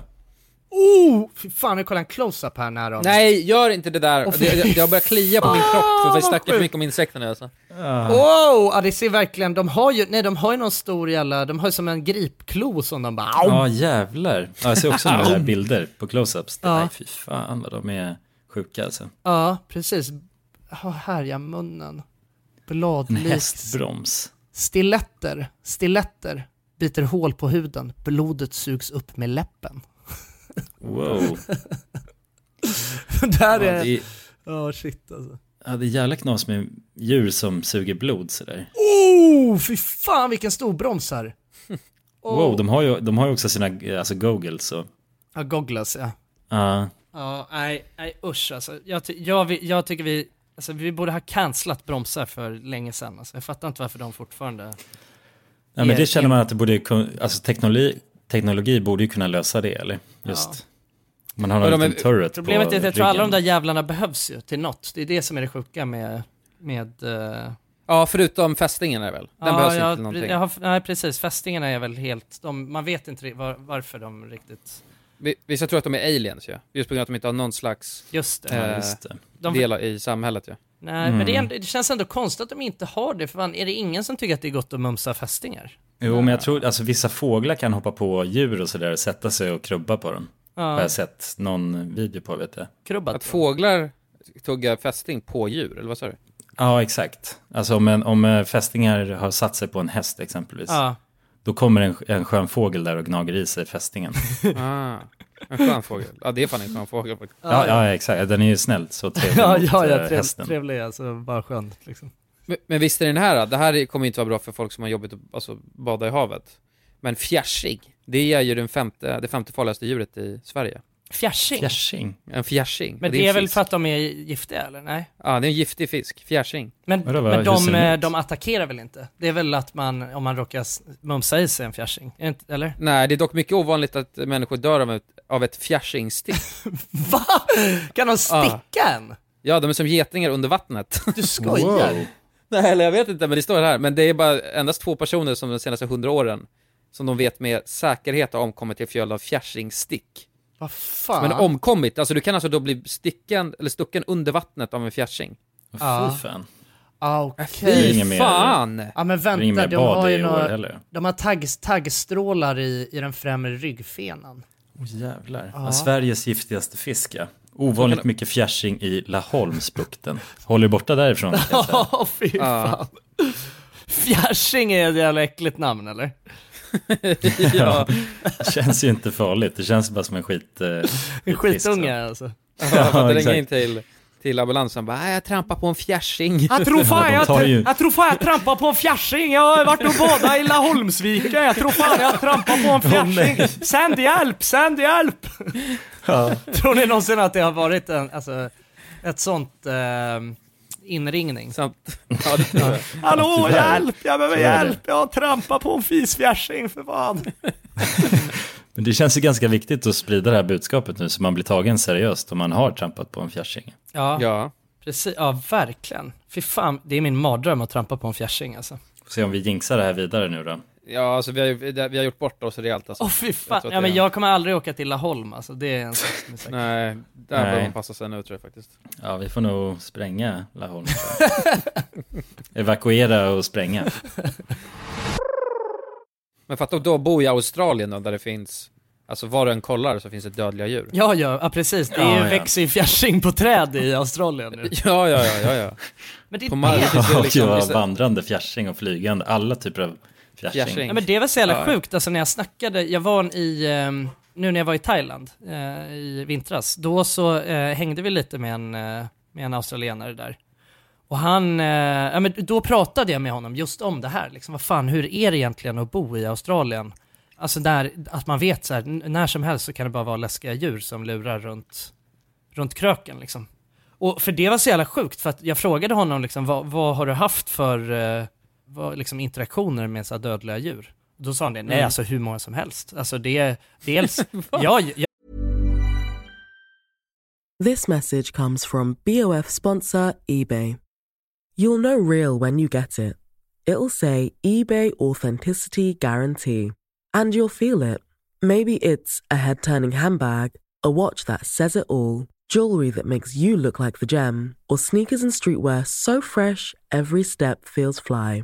S1: Oh, fy fan, nu kollar en close-up här nära honom.
S3: Nej, gör inte det där!
S1: Åh, fy Ah,
S3: det, jag, jag börjar klia på min kropp för att jag snackar för mycket om insekter nu alltså.
S2: Ah.
S1: Wow, ja, det ser verkligen, de har ju, nej de har ju någon stor jävla, de har ju som en gripklo som de bara, au.
S2: Ja, jävlar. Ja, jag ser också några här bilder på close-ups. Nej, fy fan vad de är sjuka alltså.
S1: Ja, precis. Oh, härja munnen.
S2: En
S1: Bladlikt.
S2: hästbroms.
S1: Stiletter, stiletter. Biter hål på huden. Blodet sugs upp med läppen.
S2: Wow.
S1: Där
S2: Ja,
S1: är...
S2: det, är,
S1: Ja, shit alltså.
S2: ja, det är jävla knas med djur som suger blod sådär.
S1: Oh, fy fan vilken stor broms här. Oh.
S2: Wow, de har ju, de har ju också sina eh, alltså, goggles och...
S1: Ja, gogglas ja.
S2: Ja,
S1: Ja, nej, nej usch alltså. Jag, ty- jag, vi- jag tycker vi, alltså, vi borde ha cancelat bromsar för länge sedan. Alltså. Jag fattar inte varför de fortfarande...
S2: ja men
S1: Er-
S2: det känner man att det borde kun- alltså teknologi, teknologi borde ju kunna lösa det eller? Just. Man har
S3: Men
S2: en
S3: de är-
S2: liten turret
S1: Problemet
S2: på
S1: är att jag tror alla de
S2: ryggen.
S1: där jävlarna behövs ju till något. Det är det som är det sjuka med... med eh,
S3: Ja, förutom fästingen är det väl? Den behövs
S1: jag,
S3: inte till någonting.
S1: Jag har, nej, precis. Fästingarna är väl helt... De, man vet inte ri- var, varför de riktigt...
S3: Vi- Vissa tror att de är aliens ju, ja. just på grund av att de inte har någon slags
S1: Just det.
S3: Eh,
S2: Ja, just det.
S1: de,
S3: del i samhället ju. Ja.
S1: nej, men det,
S3: mm.
S1: är, ändå- det känns ändå konstigt att de inte har det. För fan, är det ingen som tycker att det är gott att mumsa fästingar?
S2: Jo,
S1: Äh.
S2: men jag tror alltså vissa fåglar kan hoppa på djur och sådär och sätta sig och krubba på dem. Har
S1: Ja,
S2: jag sett någon video på, vet jag.
S1: krubbat.
S3: Att fåglar tuggar fästing på djur, eller vad sa du?
S2: Ja, exakt. Alltså om, en, om eh, fästingar har satt sig på en häst exempelvis,
S1: Ja,
S2: då kommer en, en skön fågel där och gnager i sig fästingen.
S3: Ah, en skön fågel. Ja, det är fan en skön fågel faktiskt.
S2: ja, ja, exakt. Den är ju snäll, så trevlig
S1: ja,
S2: mot
S1: ja,
S2: eh,
S1: ja trev,
S2: hästen.
S1: trevlig alltså. Bara skön liksom.
S3: Men, men visst är den här då? Det här är- kommer inte vara bra för folk som har jobbigt att alltså, bada i havet. Men fjärsing, det är ju den femte, det femte farligaste djuret i Sverige.
S1: Fjärsing?
S2: Fjärsing.
S3: En fjärsing.
S1: Men
S3: Och
S1: det är,
S3: en
S1: väl
S3: fisk.
S1: för att de är giftiga eller? Nej?
S3: Ja, det är en giftig fisk. Fjärsing.
S1: Men,
S2: Vadå, vad-
S1: men
S2: hur ser
S1: de,
S2: den
S1: eh,
S2: ut?
S1: de attackerar väl inte? Det är väl att man, om man råkar s- mumsa i sig en fjärsing? Är det inte- Eller?
S3: Nej, det är dock mycket ovanligt att människor dör av ett, av ett fjärsingstick.
S1: Va? Kan de sticka en?
S3: Ja, de är som getingar under vattnet.
S1: Du skojar?
S3: Nej, eller jag vet inte, men det står här. Men det är bara endast två personer som de senaste hundra åren som de vet med säkerhet har omkommit till följd av fjärsingstick.
S1: Vad fan?
S3: Men omkommit, alltså du kan alltså då bli sticken, eller stucken under vattnet av en fjärsing.
S1: Ja.
S2: Fy fan.
S1: ah, okej.
S2: Fy
S3: Fy
S2: ingen mer-
S3: fan!
S1: Ja men
S2: Det är inget
S1: vänta,
S2: mer
S1: de har
S2: bad
S1: ju
S2: i år
S1: några,
S2: heller.
S1: de har tagg, taggstrålar i, i den främre ryggfenan.
S2: Åh jävlar. Ja. Sveriges giftigaste fisk, ja. Ovanligt mycket fjärsing i Laholmsbukten. Håller borta därifrån. kan jag säga.
S1: Ah. Ja, fy fan. Fjärsing är ett jävla äckligt namn eller?
S2: ja. känns ju inte farligt. Det känns bara som en skit... Eh,
S1: En
S2: skitpiss,
S1: skitunge
S2: så.
S1: alltså.
S5: Ja, för att
S2: exakt.
S5: ringa in till, till ambulansen bara "Ah, jag trampar på en fjärsing.
S1: Jag tror fan
S2: Ja, de
S1: jag,
S2: tar ju-
S1: jag, tror fan jag trampar på en fjärsing. Jag har varit och badat i Laholmsviken. Jag tror fan jag trampar på en fjärsing. Sänd hjälp, sänd hjälp!
S2: Ja.
S1: Tror ni någonsin att det har varit en, alltså, ett sånt eh, inringning?
S5: Samt, ja, det tror jag.
S1: Hallå,
S2: tyvärr.
S1: hjälp! Jag behöver
S2: Tyvärr det.
S1: hjälp! Jag trampar på en fisfjärsing för fan.
S2: Men det känns ju ganska viktigt att sprida det här budskapet nu så man blir tagen seriöst om man har trampat på en fjärsing.
S1: Ja,
S5: ja.
S1: precis. Ja, verkligen. Fy fan, det är min mardröm att trampa på en fjärsing alltså.
S2: Får se om vi jinxar det här vidare nu då.
S5: Ja, alltså vi har, ju- vi har gjort bort oss rejält alltså.
S1: Åh fy fan.
S5: Jag tror att
S1: ja,
S5: det är-
S1: men jag kommer aldrig åka till Laholm alltså. Det är en sak som är säker.
S5: Nej, där behöver
S2: Nej.
S5: man passa sig nu tror jag faktiskt.
S2: Ja, vi får nog spränga Laholm. Evakuera och spränga.
S5: Men fatta att då bo i Australien då, där det finns, alltså var du än kollar så finns det dödliga djur.
S1: Ja, ja, ja precis. Det
S2: Ja,
S1: är
S2: ja.
S1: ju växer ju fjärsing på träd i Australien nu.
S5: Ja, ja, ja, ja, ja.
S1: Men det,
S5: På
S1: är
S5: marken
S1: det,
S5: finns det
S2: Och
S5: liksom...
S2: jag
S5: vissa-
S2: vandrande fjärsing och flygande. Alla typer av fjärsing.
S5: Fjärsing.
S1: ja, men det var så jävla
S5: Ja.
S1: sjukt, alltså när jag snackade, jag var i, ehm, nu när jag var i Thailand eh, i vintras, då så eh, hängde vi lite med en, eh, med en australienare där. Och han, eh, ja men då pratade jag med honom just om det här, liksom vad fan, hur är det egentligen att bo i Australien? Alltså där, att man vet så här, n- när som helst så kan det bara vara läskiga djur som lurar runt, runt kröken liksom. Och för det var så jävla sjukt, för att jag frågade honom liksom, vad, vad har du haft för eh, vad, liksom, interaktioner med så här dödliga djur? Då sa han det, nej alltså hur många som helst. Alltså det är dels, jag, jag
S6: This message comes from BOF sponsor eBay. You'll know real when you get it. It'll say eBay Authenticity Guarantee. And you'll feel it. Maybe it's a head turning handbag, a watch that says it all, jewelry that makes you look like the gem, or sneakers and streetwear so fresh every step feels fly.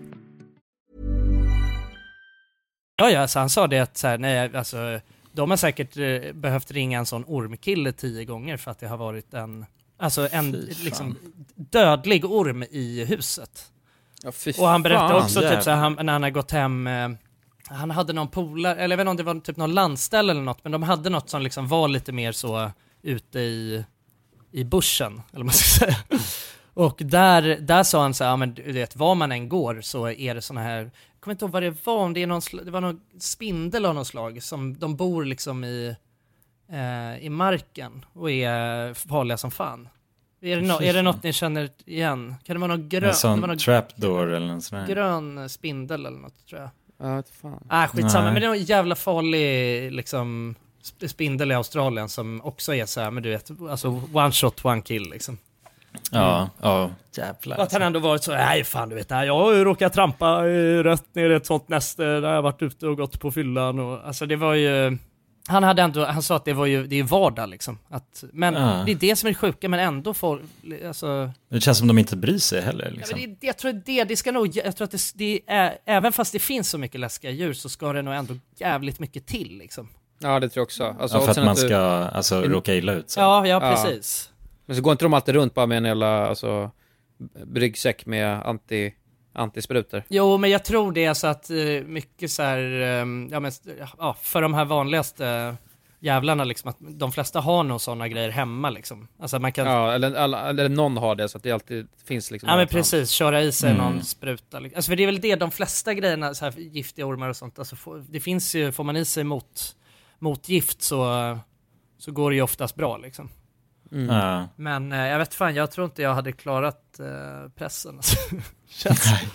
S1: Ja, ja, så han sa det att så här, nej, alltså, de har säkert eh, behövt ringa en sån ormkille tio gånger för att det har varit en, alltså en liksom, dödlig orm i huset.
S5: Ja, fy
S1: Och han berättade
S5: fan,
S1: också
S5: jävlar.
S1: typ så här, han, när han har gått hem, eh, han hade någon polare, eller jag vet inte om det var typ någon landställe eller något, men de hade något som liksom var lite mer så ute i, i bushen, eller vad man ska säga. Och där, där sa han så här, ja men du vet, var man än går så är det såna här, jag kommer inte ihåg vad det var, om det, är någon, sl- det var någon spindel av någon slag som de bor liksom i, eh, i marken och är farliga som fan. Är det, no- är det något ni känner igen? Kan det vara någon grön?
S2: En
S1: det var
S2: sån
S1: någon
S2: trapdoor eller en sån här.
S1: grön spindel eller något tror jag.
S5: Ja, vet fan.
S1: Ah, skitsamma,
S2: Mm. Nej.
S1: men det är en jävla farlig liksom, sp- spindel i Australien som också är så här, men du vet, alltså one shot, one kill liksom.
S2: Ja, ja. Jävlar.
S1: Och att
S2: alltså.
S1: han ändå varit så, nej fan du vet, nej, jag har ju råkat trampa eh, rätt ner i ett sånt näste där jag varit ute och gått på fyllan och alltså det var ju, han hade ändå, han sa att det var ju, det är vardag liksom. Att, men
S2: Ja.
S1: det är det som är det sjuka, men ändå får, alltså,
S2: Det känns som de inte bryr sig heller. Liksom.
S1: Ja, men det, jag tror att det, det ska nog, jag tror att det, det är, även fast det finns så mycket läskiga djur så ska det nog ändå jävligt mycket till liksom.
S5: Ja, det tror jag också.
S1: Mm.
S5: Alltså,
S2: ja,
S5: och
S2: för
S5: sen
S2: att man
S5: du-
S2: ska alltså,
S5: Mm.
S2: råka illa ut. Så.
S1: Ja, ja
S5: Ja.
S1: precis.
S5: Men så går inte de alltid runt bara med en jävla, alltså, ryggsäck med anti, antisprutor.
S1: Jo, men jag tror det är så att eh, mycket så här, ehm, ja men, s- ja, för de här vanligaste jävlarna liksom, att de flesta har nog sådana grejer hemma liksom. Alltså man kan, ja,
S5: Ja, eller, alla, eller någon har det så att det alltid finns liksom.
S1: men
S5: någon fram.
S1: precis, köra i sig någon spruta. liksom. Alltså för det är väl det, de flesta grejerna, så här giftiga ormar och sånt, alltså får- det finns ju, får man i sig mot, motgift så, så går det ju oftast bra liksom.
S2: Mm. Ja.
S1: Men eh, jag vet fan, jag tror inte jag hade klarat eh, pressen. Alltså.
S2: Nej.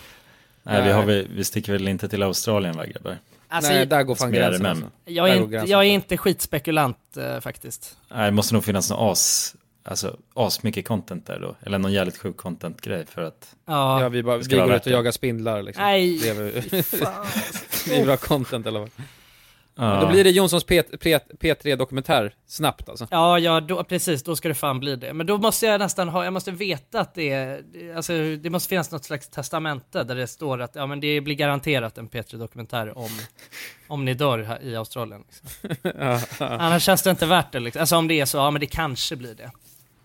S2: Nej, vi, har, väl- vi sticker väl inte till Australien va grabbar?
S1: Alltså, Nej, där går fan
S2: Som är
S1: gränsen,
S2: RMM.
S5: alltså.
S1: Jag är, inte, jag är inte skitspekulant eh, faktiskt.
S2: Nej, det måste nog finnas någon as, alltså as mycket content där då. Eller någon jävligt sjuk content-grej för att
S1: Ja.
S5: Ja, vi bara,
S2: det
S5: vi
S2: ska vara
S5: går
S2: värt
S5: ut och
S2: det.
S5: jagar spindlar liksom.
S1: Nej,
S5: Det är, väl-
S1: fy fan.
S5: det är bra content eller vad.
S2: Ja.
S5: Då blir det Jonssons P- P- P3-dokumentär snabbt alltså.
S1: Ja, ja då, precis, då ska det fan bli det. Men då måste jag nästan ha, jag måste veta att det är, alltså det måste finnas något slags testamente där det står att ja men det blir garanterat en P3 Dokumentär om, om ni dör här i Australien. Liksom.
S5: Ja, ja.
S1: Annars känns det inte värt det liksom. Alltså om det är så, ja men det kanske blir det.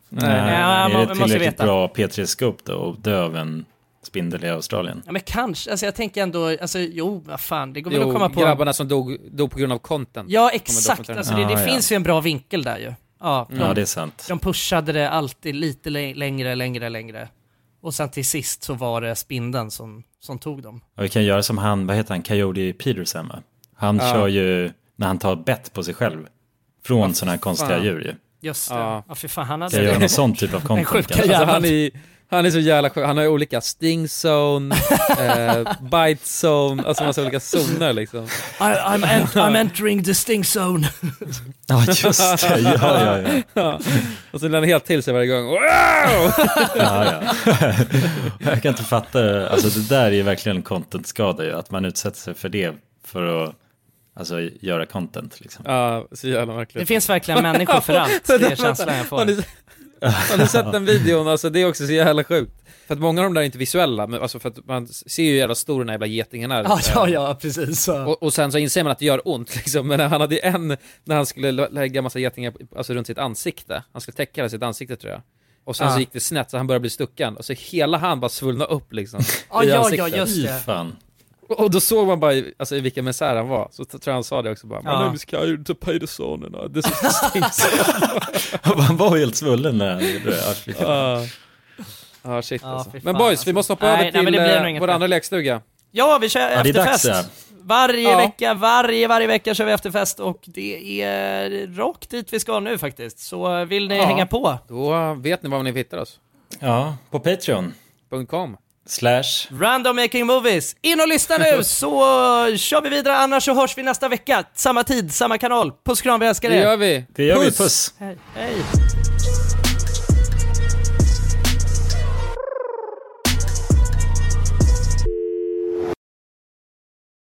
S2: Nej,
S1: Ja, man-
S2: är
S1: man
S2: det
S1: måste
S2: tillräckligt
S1: veta.
S2: bra P3-scope då och dö av en spindel i Australien?
S1: Ja men kanske, alltså jag tänker ändå, alltså jo vad fan, det går väl
S5: Jo,
S1: att komma på.
S5: grabbarna som dog, dog på grund av content.
S1: Ja
S5: Kommer
S1: exakt,
S5: dokumentären.
S1: alltså det, det
S2: Ah, ja.
S1: finns ju en bra vinkel där ju. Ja,
S2: Ja, det är sant.
S1: De pushade det alltid lite lä- längre, längre, längre. Och sen till sist så var det spindeln som, som tog dem.
S2: Och vi kan göra som han, vad heter han, Coyote Peterson va? Han
S1: Ja.
S2: kör ju när han tar ett bett på sig själv. Från sådana här konstiga
S5: fan.
S2: djur ju.
S1: Just Alltså, det.
S5: Ja.
S1: Ja, fy fan, han hade
S2: Kan jag göra någon sån typ av
S1: Den
S2: content,
S1: sjuka
S2: kanske?
S1: jäveln.
S5: Alltså, han, är, han är så jävla sjuk, han har ju olika sting zone, eh, bite zone, alltså massa olika zoner liksom.
S1: I, I'm, en- I'm entering the sting zone.
S2: Ja just det, ja ja ja.
S5: Och sen lär han helt till sig varje gång. Wow!
S2: ja, ja. Jag kan inte fatta det. Alltså det där är ju verkligen content-skada ju. Att man utsätter sig för det för att alltså, göra content liksom.
S5: Ja, så jävla märkligt.
S1: Det finns verkligen människor för allt, det är känslan jag får.
S5: Har ni, har ni sett den videon? Alltså det är också så jävla sjukt. För att många av de där är inte visuella, men alltså för att man ser ju hur jävla stor den här jävla getingen är.
S1: Ja, ja, ja, precis. Ja.
S5: Och, och sen så inser man att det gör ont liksom, men han hade ju en, när han skulle lä- lägga massa getingar alltså, runt sitt ansikte, han skulle täcka det sitt ansikte tror jag. Och sen
S1: Ja.
S5: så gick det snett så han började bli stucken, och så hela han bara svullnade upp liksom. i
S1: Ja, ja,
S5: ansiktet.
S1: ja, just
S2: Fy
S1: det.
S2: fan.
S5: Och, och då såg man bara i- alltså, i vilken misär han var, så t- tror jag han sa det också bara
S1: Ja.
S5: My name is Coyote Peterson and I- this is the sting
S2: Han var helt svullen när han gjorde det. Ja, fy fan.
S5: Ja, Ja, shit
S1: Ja,
S5: alltså.
S1: fy fan,
S5: Men boys,
S1: alltså.
S5: vi måste hoppa
S1: Nej,
S5: över
S1: nej,
S5: till
S1: men det blir nog
S5: nej,
S1: inget
S5: vår
S1: bättre.
S5: andra lekstuga.
S1: Ja, vi kör
S2: Ja, det är dags
S1: efterfest.
S2: det.
S1: Varje
S5: Ja.
S1: vecka, varje, varje vecka kör vi efterfest och det är rakt dit vi ska nu faktiskt. Så vill ni
S5: Ja.
S1: hänga på?
S5: Då eh, vet ni var ni hittar oss.
S2: Ja, på Patreon.
S5: .com.
S2: Slash.
S1: Random Making Movies. In och lyssna nu så kör vi vidare annars så hörs vi nästa vecka. Samma tid, samma kanal. Puss och kram, vi älskar
S5: Det
S1: er.
S5: gör vi.
S2: Det gör vi, puss.
S1: Hej. Hej.
S10: Just